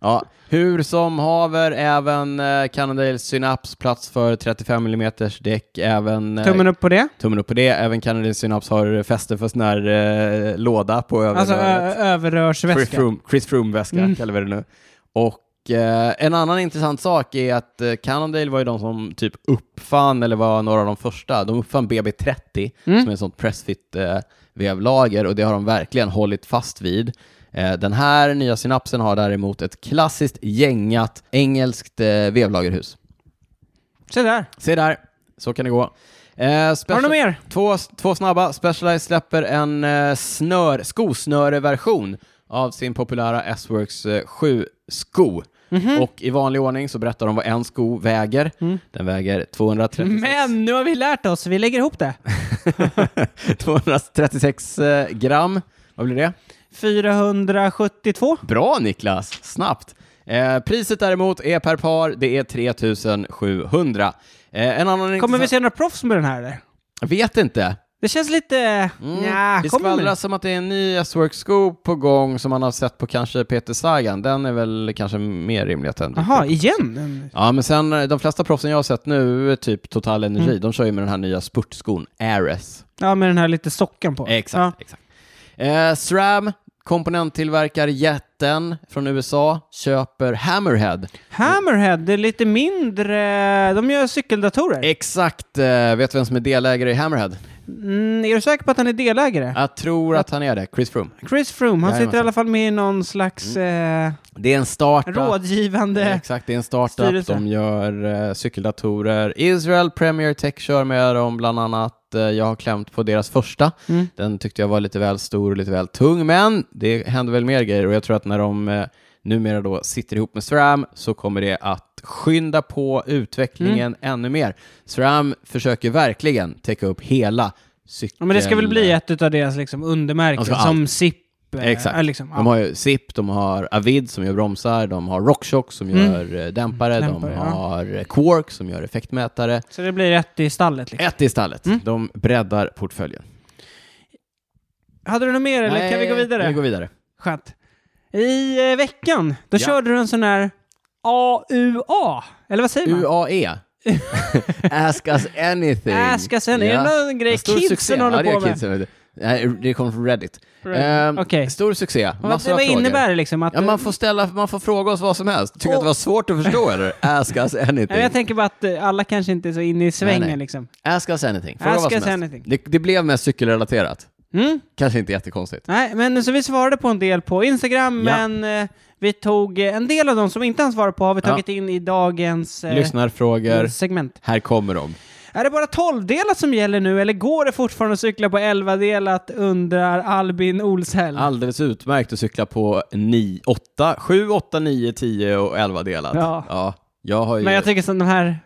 S2: Ja, hur som haver, även eh, Cannondale Synaps plats för 35 mm däck, även eh,
S1: tummen upp på det.
S2: tummen upp på det, även Cannondale Synaps har fäste för sån här eh, låda på
S1: Alltså
S2: överröret.
S1: ö- överrörsväska.
S2: Chris Froome- Chris Froome-väska
S1: Mm.
S2: kallar vi det nu. Och eh, en annan intressant sak är att eh, Cannondale var ju de som typ uppfann, eller var några av de första, de uppfann BB30
S1: Mm.
S2: som är ett sånt pressfit eh, vevlager och det har de verkligen hållit fast vid. Eh, den här nya synapsen har däremot ett klassiskt gängat engelskt eh, vevlagerhus.
S1: Se där.
S2: Se där, så kan det gå. Eh,
S1: Har du
S2: special-
S1: något mer?
S2: Två, två snabba. Specialized släpper en eh, snör, skosnöre-version av sin populära S-Works eh, 7-sko.
S1: Mhm.
S2: Och i vanlig ordning så berättar de vad en sko väger. Den väger 236,
S1: Mm. Men nu har vi lärt oss, vi lägger ihop det.
S2: 236 eh, gram. Vad blir det?
S1: 472.
S2: Bra Niklas, snabbt. Eh, priset däremot är per par, det är 3700. Eh, en annan
S1: Kommer vi
S2: intressant-
S1: se några proffs med den här eller?
S2: Vet inte.
S1: Det känns lite... Nja,
S2: Mm. det
S1: kommer med
S2: skvallras som att det är en ny S-Works-sko på gång som man har sett på kanske Peter Sagan. Den är väl kanske mer rimlig att den
S1: det. Jaha, igen?
S2: Ja, men sen eh, de flesta proffsen jag har sett nu, typ Total Energi,
S1: Mm.
S2: de kör ju med den här nya spurtskon, Ares.
S1: Ja, med den här lite sockan på.
S2: Exakt, exakt. Eh, SRAM, komponenttillverkarjätten från USA, köper Hammerhead.
S1: Ja. Hammerhead, det är lite mindre... De gör cykeldatorer.
S2: Exakt, eh, vet du vem som är delägare i Hammerhead?
S1: Mm, är du säker på att han är delägare?
S2: Jag tror att han är det, Chris Froome.
S1: Chris Froome, han sitter i
S2: Jajamensan.
S1: alla fall med i någon slags eh,
S2: Det är en startup.
S1: rådgivande...
S2: Exakt, det är en startup.
S1: Styrelse.
S2: De gör eh, cykeldatorer. Israel Premier Tech kör med dem bland annat. Eh, jag har klämt på deras första.
S1: Mm.
S2: Den tyckte jag var lite väl stor och lite väl tung, men det händer väl mer grejer och jag tror att när de eh, numera då sitter ihop med SRAM så kommer det att skynda på utvecklingen
S1: Mm.
S2: ännu mer. SRAM försöker verkligen täcka upp hela cykeln.
S1: Ja, men det ska väl bli ett av deras liksom, undermärken,
S2: De ska ha
S1: som SIP. eh,
S2: Exakt.
S1: är Liksom,
S2: De har ju SIP, de har Avid som gör bromsar, de har RockShock som
S1: Mm.
S2: gör eh, dämpare,
S1: Dämpare,
S2: de
S1: ja.
S2: har eh, Quark som gör effektmätare.
S1: Så det blir ett i stallet. Liksom.
S2: Ett i stallet.
S1: Mm.
S2: De breddar portföljen.
S1: Hade du något mer eller kan vi gå vidare?
S2: Vi går vidare.
S1: Skönt. I eh, veckan, då
S2: Ja.
S1: körde du en sån här AUA, eller vad säger man?
S2: UAE. E. Ask us anything.
S1: Ask us anything. Är det någon grej
S2: En stor
S1: kidsen
S2: succé.
S1: håller
S2: ja, det
S1: på
S2: är
S1: med?
S2: kidsen, vet du. Nej, Det kommer från Reddit.
S1: Reddit.
S2: Ehm,
S1: Okej.
S2: Stor succé.
S1: Vad,
S2: Massor av
S1: vad
S2: frågor.
S1: innebär det liksom? Att
S2: Ja, man, får ställa, man får fråga oss vad som helst. Tycker du att det var svårt att förstå eller? Ask us anything.
S1: Nej, jag tänker bara att eh, alla kanske inte är så inne i svängen
S2: Nej, nej.
S1: liksom.
S2: Ask us anything. Fråga
S1: Ask
S2: vad som
S1: us
S2: helst.
S1: anything.
S2: Det, det blev mest cykelrelaterat.
S1: Mm?
S2: Kanske inte jättekonstigt.
S1: Nej, men så vi svarade på en del på Instagram,
S2: Ja.
S1: men eh, vi tog eh, en del av dem som vi inte hann svara på har vi
S2: Ja.
S1: tagit in i dagens eh,
S2: Lyssnarfrågor.
S1: segment.
S2: Här kommer de.
S1: Är det bara 12-delat som gäller nu eller går det fortfarande att cykla på 11-delat undrar Albin Olshäll.
S2: Alldeles utmärkt att cykla på 9, 8, 7, 8, 9, 10 och 11 delat.
S1: Ja.
S2: jag har ju...
S1: Men jag tycker sådana här,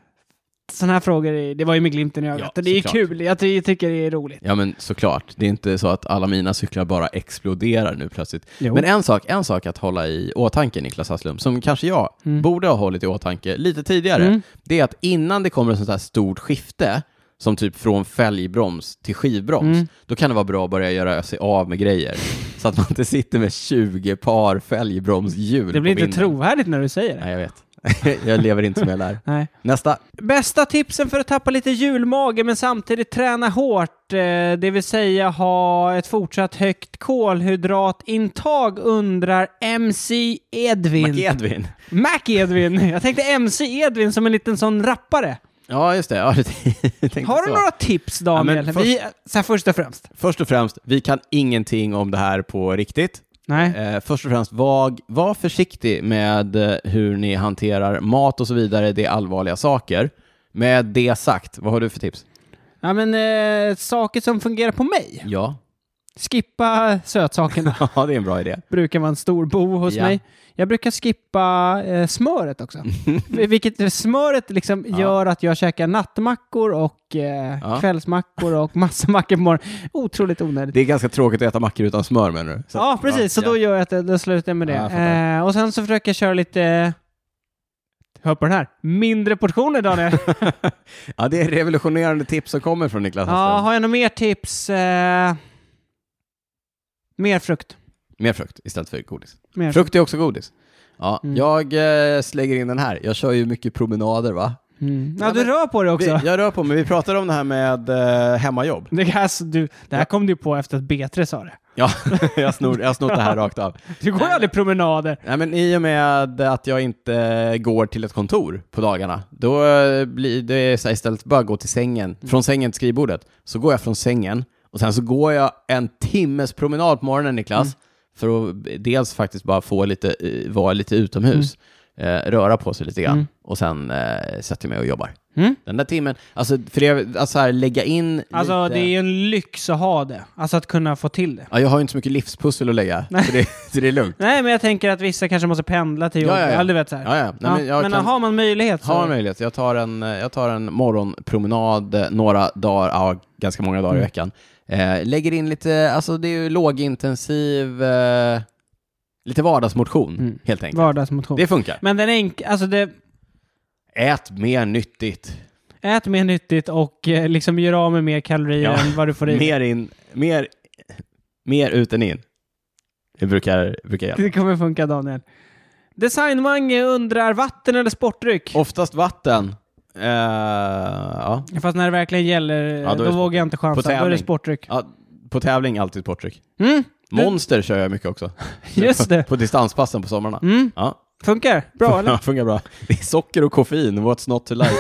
S1: såna här frågor, är- det var ju med glimten i ögat.
S2: Ja,
S1: och det är ju
S2: såklart.
S1: kul, jag ty- tycker det är roligt.
S2: Ja men såklart, det är inte så att alla mina cyklar bara exploderar nu plötsligt.
S1: Jo.
S2: Men en sak, en sak att hålla i åtanke Niklas Hasslum, som kanske jag
S1: Mm.
S2: borde ha hållit i åtanke lite tidigare, det är att innan det kommer ett sånt här stort skifte, som typ från fälgbroms till skivbroms,
S1: Mm.
S2: då kan det vara bra att börja göra sig av med grejer. Så att man inte sitter med 20 par fälgbromshjul
S1: Det blir
S2: på
S1: inte
S2: vinden.
S1: trovärdigt när du säger det.
S2: Nej, jag vet. jag lever inte som jag lär.
S1: Nej.
S2: Nästa.
S1: Bästa tipsen för att tappa lite julmage men samtidigt träna hårt, eh, det vill säga ha ett fortsatt högt kolhydratintag undrar MC Edvin.
S2: Mac Edvin.
S1: Mac Edvin. Jag tänkte MC Edvin som en liten sån rappare.
S2: Ja, just det. Ja, det tänkte
S1: Har du
S2: så.
S1: några tips Daniel?
S2: Ja, men
S1: Vi, så här först och främst.
S2: Först och främst, vi kan ingenting om det här på riktigt.
S1: Nej.
S2: Eh, först och främst, var, var försiktig med eh, hur ni hanterar mat och så vidare. Det är allvarliga saker. Med det sagt, vad har du för tips?
S1: Ja, men eh, saker som fungerar på mig.
S2: Ja,
S1: Skippa sötsakerna.
S2: ja det är en bra idé.
S1: brukar vara en stor bo hos
S2: Ja.
S1: mig. Jag brukar skippa eh, smöret också. Vilket smöret liksom gör att jag käkar nattmackor och eh,
S2: Ja.
S1: kvällsmackor och massa mackor på morgonen. Otroligt onödigt.
S2: Det är ganska tråkigt att äta mackor utan smör menar du? Så-
S1: ja, precis. så
S2: ja.
S1: då gör jag att jag- då slutar jag med det.
S2: Ja, jag fattar.
S1: eh, och sen så försöker jag köra lite... Hör på den här. Mindre portioner, Daniel.
S2: ja, det är revolutionerande tips som kommer från Niklas
S1: ja,
S2: Hasslum.
S1: har jag några mer tips? Eh, mer frukt.
S2: Mer frukt istället för godis.
S1: Mer
S2: Frukt är också godis. Ja,
S1: Mm.
S2: jag eh, slänger in den här. Jag kör ju mycket promenader va?
S1: Mm. Ja,
S2: Ja,
S1: du
S2: men-
S1: rör på dig
S2: Vi,
S1: också.
S2: jag rör på mig. Vi pratade om det här med eh, hemmajobb.
S1: Det, här- alltså, du, det här
S2: Ja.
S1: kom du på efter att B3 sa det.
S2: Ja, jag snor, jag har snott det här rakt av.
S1: Du går ju aldrig promenader.
S2: Nej, men I och med att jag inte går till ett kontor på dagarna, då eh, blir det så här, istället bara gå till sängen,
S1: Mm.
S2: från sängen till skrivbordet, så går jag från sängen och sen så går jag en timmes promenad på morgonen, Niklas,
S1: Mm.
S2: för att dels faktiskt bara få lite, eh, vara lite utomhus,
S1: Mm.
S2: eh, röra på sig lite grann och sen eh, sätter jag mig och jobbar.
S1: Mm.
S2: Den där timmen, alltså, för det, alltså så här, lägga in
S1: Alltså
S2: lite...
S1: det är ju en lyx att ha det. Alltså att kunna få till det.
S2: Ja, jag har ju inte så mycket livspussel att lägga, så det, så det är lugnt.
S1: Nej, men jag tänker att vissa kanske måste pendla till
S2: Ja,
S1: jobbet.
S2: ja, ja.
S1: Eller du vet så här.
S2: Ja, ja. Nej, men jag kan-
S1: har man möjlighet så...
S2: Har en möjlighet. Jag tar en, eh, jag tar en morgonpromenad eh, några dagar, ja, ganska många
S1: Mm.
S2: dagar i veckan. Eh, lägger in lite, alltså det är ju lågintensiv, eh, lite vardagsmotion
S1: Mm.
S2: helt enkelt.
S1: Vardagsmotion.
S2: Det funkar.
S1: Men den enkla... Alltså det...
S2: Ät mer nyttigt.
S1: Ät mer nyttigt och eh, liksom gör av med mer kalorier
S2: Ja.
S1: än vad du får i dig.
S2: Mer in, mer, mer ut än in. Det brukar, brukar hjälpa.
S1: Det kommer funka Daniel. Designmange undrar vatten eller sportdryck?
S2: Oftast vatten. Eh, ja.
S1: Fast när det verkligen gäller,
S2: då är
S1: då,
S2: det sport.
S1: vågar jag inte
S2: På
S1: chansa. Då är det
S2: tävling.
S1: sportdryck.
S2: ja. På tävling alltid sportdryck.
S1: Mm,
S2: Monster kör jag mycket också.
S1: just det.
S2: På distanspassen på somrarna.
S1: Mm,
S2: Ja.
S1: funkar. Bra eller?
S2: Ja, funkar bra. Det är socker och koffein, what's not to like?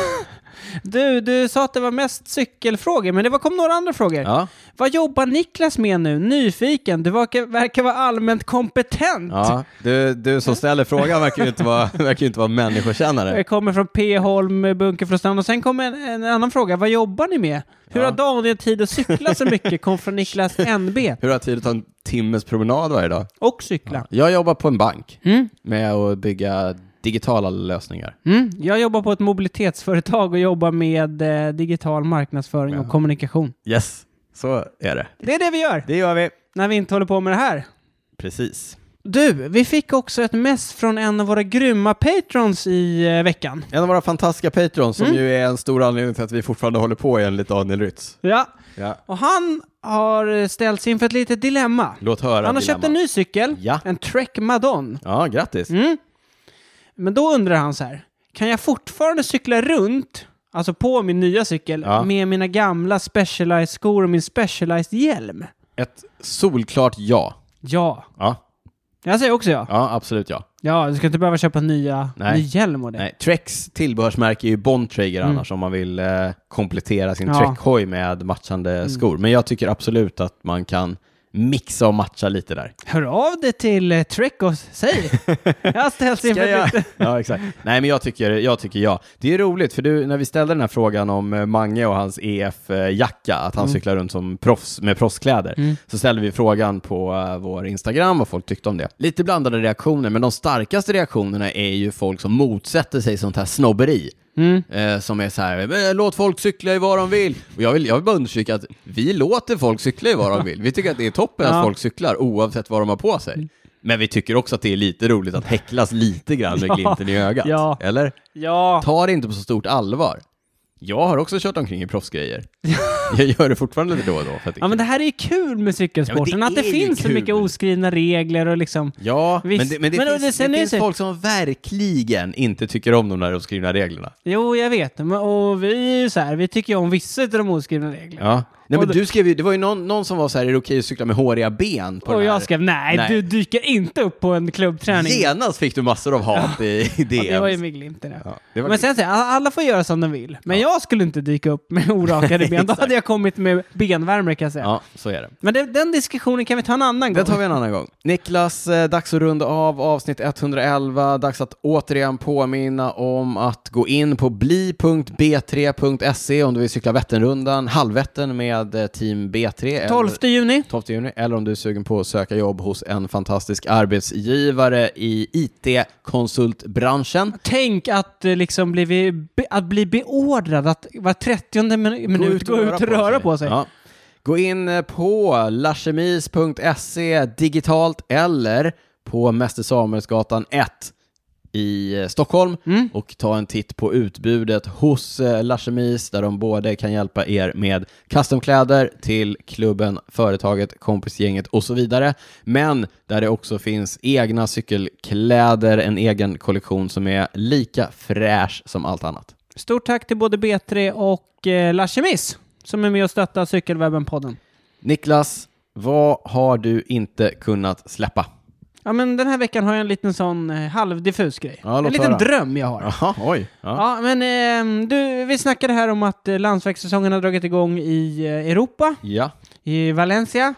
S1: Du, du sa att det var mest cykelfrågor, men det var- kom några andra frågor.
S2: Ja,
S1: Vad jobbar Niklas med nu? Nyfiken? Du verkar, verkar vara allmänt kompetent.
S2: ja. Du, du som ställer frågan verkar ju inte vara, verkar ju inte vara människokännare.
S1: Jag kommer från P. Holm, Bunkerfrostrand och sen kom en, en annan fråga. Vad jobbar ni med? Hur
S2: Ja.
S1: har Daniel tid att cykla så mycket? Kom från Niklas NB.
S2: Hur har jag tid att ta en timmes promenad varje dag?
S1: Och cykla.
S2: Jag jobbar på en bank
S1: Mm.
S2: med att bygga digitala lösningar.
S1: Mm. Jag jobbar på ett mobilitetsföretag och jobbar med eh, digital marknadsföring och
S2: Ja.
S1: kommunikation.
S2: Yes, så är det.
S1: Det är det vi gör
S2: Det gör vi.
S1: när vi inte håller på med det här.
S2: Precis.
S1: Du, vi fick också ett mess från en av våra grymma patrons i eh, veckan.
S2: En av våra fantastiska patrons som ju är en stor anledning till att vi fortfarande håller på enligt Daniel Rytz.
S1: Ja.
S2: Ja.
S1: Och han har ställlt sig inför ett litet dilemma.
S2: Låt höra
S1: Han har
S2: dilemma.
S1: köpt en ny cykel,
S2: Ja.
S1: en Trek Madon.
S2: Ja, grattis.
S1: Mm. Men då undrar han så här, kan jag fortfarande cykla runt, alltså på min nya cykel,
S2: Ja.
S1: med mina gamla Specialized-skor och min Specialized-hjälm?
S2: Ett solklart ja.
S1: Ja.
S2: Ja,
S1: Jag säger också ja.
S2: ja absolut ja.
S1: Ja, du ska inte behöva köpa nya,
S2: Nej.
S1: ny hjälm och det.
S2: Nej, Treks tillbehörsmärke är ju Bontrager
S1: Mm.
S2: annars om man vill eh, komplettera sin
S1: Ja.
S2: Trek-hoj med matchande skor. Men jag tycker absolut att man kan mixa och matcha lite där.
S1: Hör av dig till eh, Trek och säg. Jag har ställts inför
S2: Ska jag?
S1: ett nytt-
S2: Ja, exakt. Nej, men jag tycker, jag tycker ja. Det är roligt, för du, när vi ställde den här frågan om eh, Mange och hans EF-jacka, att han cyklar runt som proffs med proffskläder, så ställde vi frågan på eh, vår Instagram vad folk tyckte om det. Lite blandade reaktioner, men de starkaste reaktionerna är ju folk som motsätter sig sånt här snobberi. Eh, som är så här, "Men låt folk cykla i vad de vill. Och jag vill, jag vill bara understryka att vi låter folk cykla i vad de vill. Vi tycker att det är toppen
S1: Ja.
S2: att folk cyklar oavsett vad de har på sig. Men vi tycker också att det är lite roligt att häcklas lite grann med
S1: Ja.
S2: glimten i ögat.
S1: Ja.
S2: Eller?
S1: Ja,
S2: Ta det inte på så stort allvar. Jag har också kört omkring i proffsgrejer. jag gör det fortfarande lite då och då. För att det är
S1: ja, men
S2: kul.
S1: det här är ju kul med cykelsporten,
S2: Ja, men det
S1: att det
S2: är ju
S1: finns så
S2: kul.
S1: mycket oskrivna regler och liksom...
S2: Ja,
S1: Visst.
S2: men det, men det
S1: Men då- det-
S2: finns,
S1: sen
S2: det
S1: är det
S2: finns
S1: så-
S2: folk som verkligen inte tycker om de där oskrivna reglerna.
S1: Jo, jag vet. Men, och vi är ju så här, vi tycker ju om vissa av de oskrivna reglerna.
S2: Ja. Nej,
S1: Och
S2: men
S1: det-
S2: du skrev ju, det var ju någon, någon som var så här, är det okej att cykla med håriga ben? På
S1: och
S2: den här?
S1: jag skrev nej,
S2: Nej.
S1: du dyker inte upp på en klubbträning.
S2: Genast fick du massor av hat i, i
S1: Ja,
S2: DM.
S1: det var ju med glimten. Ja.
S2: Ja, det var
S1: Men
S2: kul.
S1: sen säger jag, alla- alla får göra som de vill. Men jag skulle inte dyka upp med orakade ben. Då hade jag kommit med benvärme kan jag säga.
S2: ja, så är det.
S1: Men det, den diskussionen kan vi ta en annan
S2: Det
S1: gång.
S2: tar vi en annan gång. Niklas, eh, dags att runda av avsnitt 111. Dags att återigen påminna om att gå in på bli.b3.se om du vill cykla Vätternrundan, halvvätten med eh, Team B3. eller-
S1: 12 juni.
S2: 12 juni, eller om du är sugen på att söka jobb hos en fantastisk arbetsgivare i IT-konsultbranschen.
S1: Tänk att, eh, liksom bli, att bli beordrad att var 30 min- minut gå ut och röra på sig.
S2: Ja. Gå in eh, på larsemis.se E, digitalt eller på Mäster Samuelsgatan 1 i eh, Stockholm
S1: Mm.
S2: och ta en titt på utbudet hos eh, Larsemis där de både kan hjälpa er med customkläder till klubben, företaget, kompisgänget och så vidare. Men där det också finns egna cykelkläder, en egen kollektion som är lika fräsch som allt annat.
S1: Stort tack till både B3 och eh, La Chemise som är med och stöttar Cykelwebben-podden.
S2: Niklas, vad har du inte kunnat släppa?
S1: Ja, men den här veckan har jag en liten sån eh, halvdiffus grej.
S2: Ja, låt
S1: en liten
S2: höra.
S1: dröm jag har.
S2: Jaha, oj. Ja.
S1: Ja, men ehm, du, vi snackade här om att eh, landsvägssäsongen har dragit igång i eh, Europa,
S2: ja.
S1: i Valencia.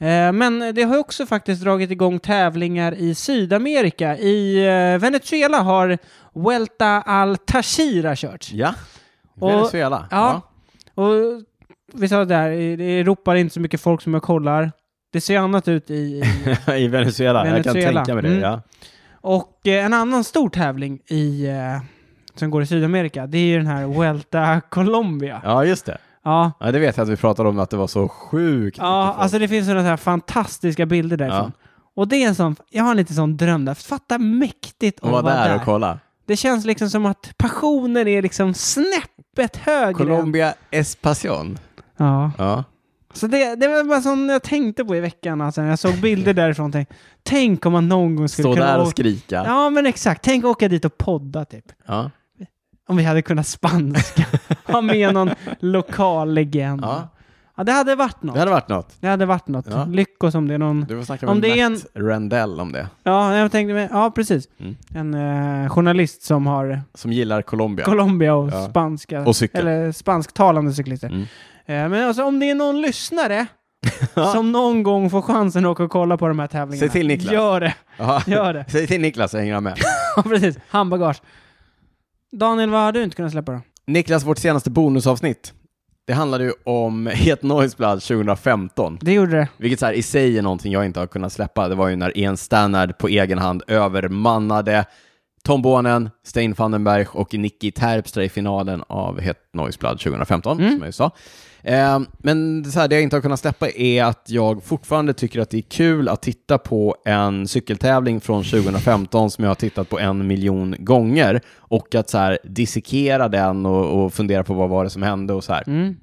S1: Eh, men det har ju också faktiskt dragit igång tävlingar i Sydamerika. I eh, Venezuela har Vuelta al Tashira körts.
S2: Ja.
S1: Och-
S2: Venezuela.
S1: Ja. Och vi sa det här, i i Europa är det inte så mycket folk som jag kollar. Det ser annat ut i... i
S2: Ja. I Venezuela. Jag kan
S1: Venezuela.
S2: tänka mig det.
S1: Mm.
S2: Ja.
S1: Och eh, en annan stor tävling i, eh, som går i Sydamerika, det är ju den här Vuelta Colombia.
S2: ja, just det.
S1: Ja,
S2: Ja, det vet jag att vi pratade om att det var så sjukt
S1: ja
S2: mycket folk.
S1: alltså det finns sådana här fantastiska bilder därifrån. Och det är en sån, jag har en liten sån dröm där. Fatta mäktigt
S2: Och
S1: att
S2: var
S1: vara
S2: där
S1: där.
S2: och kolla.
S1: det känns liksom som att passionen är liksom snäppet högre. än-
S2: Colombia Espacion.
S1: Ja.
S2: Ja.
S1: Så det, det var bara sån jag tänkte på i veckan, alltså, när jag såg bilder därifrån. Tänk, tänk om man någon gång skulle
S2: Stå
S1: kunna...
S2: där och
S1: åka-
S2: skrika. Ja.
S1: Ja, men exakt. Tänk åka dit och podda typ.
S2: Ja.
S1: Om vi hade kunnat spanska. ha med någon lokal legend.
S2: Ja.
S1: Ja. det hade varit något.
S2: Det hade varit något.
S1: Det hade varit något.
S2: Ja.
S1: Lyckos om det är någon...
S2: Du får snacka med
S1: Om det är en-
S2: Matt Rendell om det.
S1: Ja, jag tänkte mig... Ja, precis.
S2: Mm.
S1: En eh, journalist som har
S2: Som gillar Colombia.
S1: Colombia och
S2: Ja.
S1: spanska...
S2: Och cykel.
S1: Eller spansktalande cyklister.
S2: Mm.
S1: Eh, men alltså om det är någon lyssnare som någon gång får chansen att åka och kolla på de här tävlingarna.
S2: Säg till Niklas.
S1: Gör det.
S2: Ja.
S1: Gör det.
S2: Säg till Niklas jag hänger med.
S1: Ja, precis. Handbagage. Daniel, vad har du inte kunnat släppa då?
S2: Niklas, vårt senaste bonusavsnitt, det handlade ju om Het Noiseblad 2015,
S1: Det gjorde det.
S2: vilket så här i sig är någonting jag inte har kunnat släppa. Det var ju när Ian Stannard på egen hand övermannade Tom Bonen, Stein Vandenberg och Nicky Terpstra i finalen av Het Noiseblad 2015, som jag ju sa. Eh, men så här, det jag inte har kunnat släppa är att jag fortfarande tycker att det är kul att titta på en cykeltävling från 2015 som jag har tittat på en miljon gånger och att så här, dissekera den och, och fundera på vad var det som hände och så här.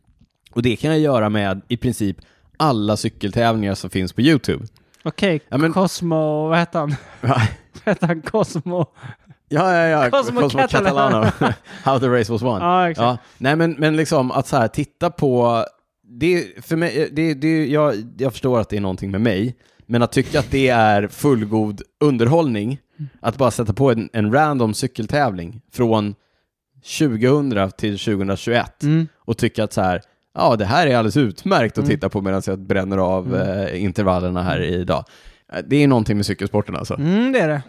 S2: Och det kan jag göra med i princip alla cykeltävlingar som finns på YouTube.
S1: Okej,
S2: Ja, men-
S1: Cosmo... Vad hette han? Vad hette han? Cosmo...
S2: Ja, ja, ja.
S1: Cosmo Catalano.
S2: How the race was won.
S1: Ja, exakt.
S2: Nej, men, men liksom att så här, titta på... Det, är- för mig, eh, det, det, jag, jag förstår att det är någonting med mig, men att tycka att det är fullgod underhållning, att bara sätta på en, en random
S1: Mm.
S2: Mm. cykeltävling från 2000 till 2021 och tycka att så här, ja, det här är alldeles utmärkt
S1: Mm.
S2: att titta på medan jag bränner av eh, intervallerna här idag. Eh, Det är någonting med cykelsporten alltså.
S1: Mm, det är det.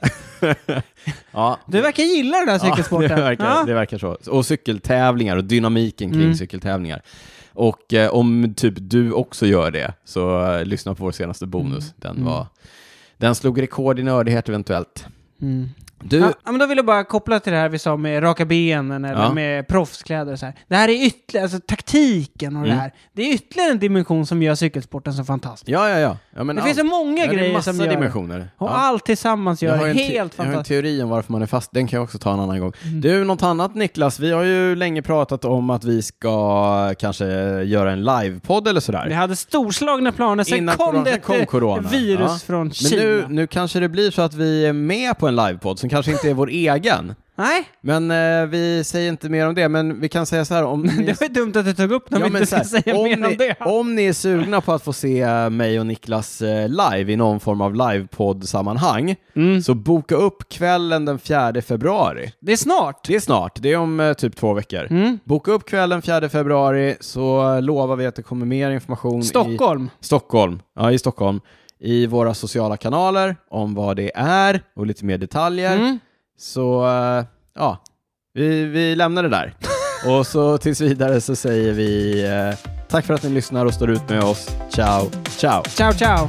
S2: Ja.
S1: Du verkar gilla den här cykelsporten.
S2: Ja, det, verkar,
S1: Ja. Mm.
S2: det verkar så. Och cykeltävlingar och dynamiken kring cykeltävlingar. Och eh, om typ du också gör det, så eh, lyssna på vår senaste
S1: Mm.
S2: bonus. Den, var, den slog rekord i nördighet eventuellt.
S1: Mm.
S2: Du,
S1: Ja, ja, men då vill jag bara koppla till det här vi sa med raka benen eller
S2: Ja.
S1: med proffskläder och så här. Det här är ytterligare, alltså taktiken och
S2: Mm.
S1: det här. Det är ytterligare en dimension som gör cykelsporten så fantastisk.
S2: ja, ja, ja. ja men
S1: det finns så många
S2: ja, det är
S1: grejer
S2: massa
S1: som gör det.
S2: dimensioner.
S1: Och
S2: Ja.
S1: allt tillsammans gör det
S2: en te-
S1: helt Mm.
S2: Jag har en
S1: fantastiskt.
S2: teori om varför man är fast. Den kan jag också ta en annan gång. Du, något annat Niklas? Vi har ju länge pratat om att vi ska eh, kanske göra en livepodd eller sådär.
S1: Vi hade storslagna planer, sen
S2: Innan
S1: kom
S2: corona-
S1: det
S2: sen
S1: ett
S2: kom
S1: eh,
S2: corona.
S1: virus
S2: Ja.
S1: från
S2: Men
S1: Kina.
S2: nu, nu kanske det blir så att vi är med på en livepodd som kanske inte är vår egen.
S1: Nej,
S2: Men eh, vi säger inte mer om det, men vi kan säga så här om ni...
S1: det var ju dumt att du tog upp när
S2: Ja,
S1: vi
S2: men
S1: inte
S2: så
S1: ska
S2: här,
S1: säga mer om
S2: ni,
S1: det.
S2: om ni är sugna på att få se mig och Niklas eh, live i någon form av livepodd-sammanhang,
S1: Mm.
S2: så boka upp kvällen den 4 februari.
S1: Det är snart.
S2: Det är snart, det är om eh, typ två veckor.
S1: Mm.
S2: Boka upp kvällen 4 februari så eh, lovar vi att det kommer mer information i
S1: Stockholm.
S2: Stockholm, ja i Stockholm, i våra sociala kanaler om vad det är och lite mer detaljer.
S1: Mm.
S2: Så eh, ja, vi, vi lämnar det där. och så tills vidare så säger vi eh, tack för att ni lyssnar och står ut med oss. Ciao, ciao.
S1: Ciao, ciao.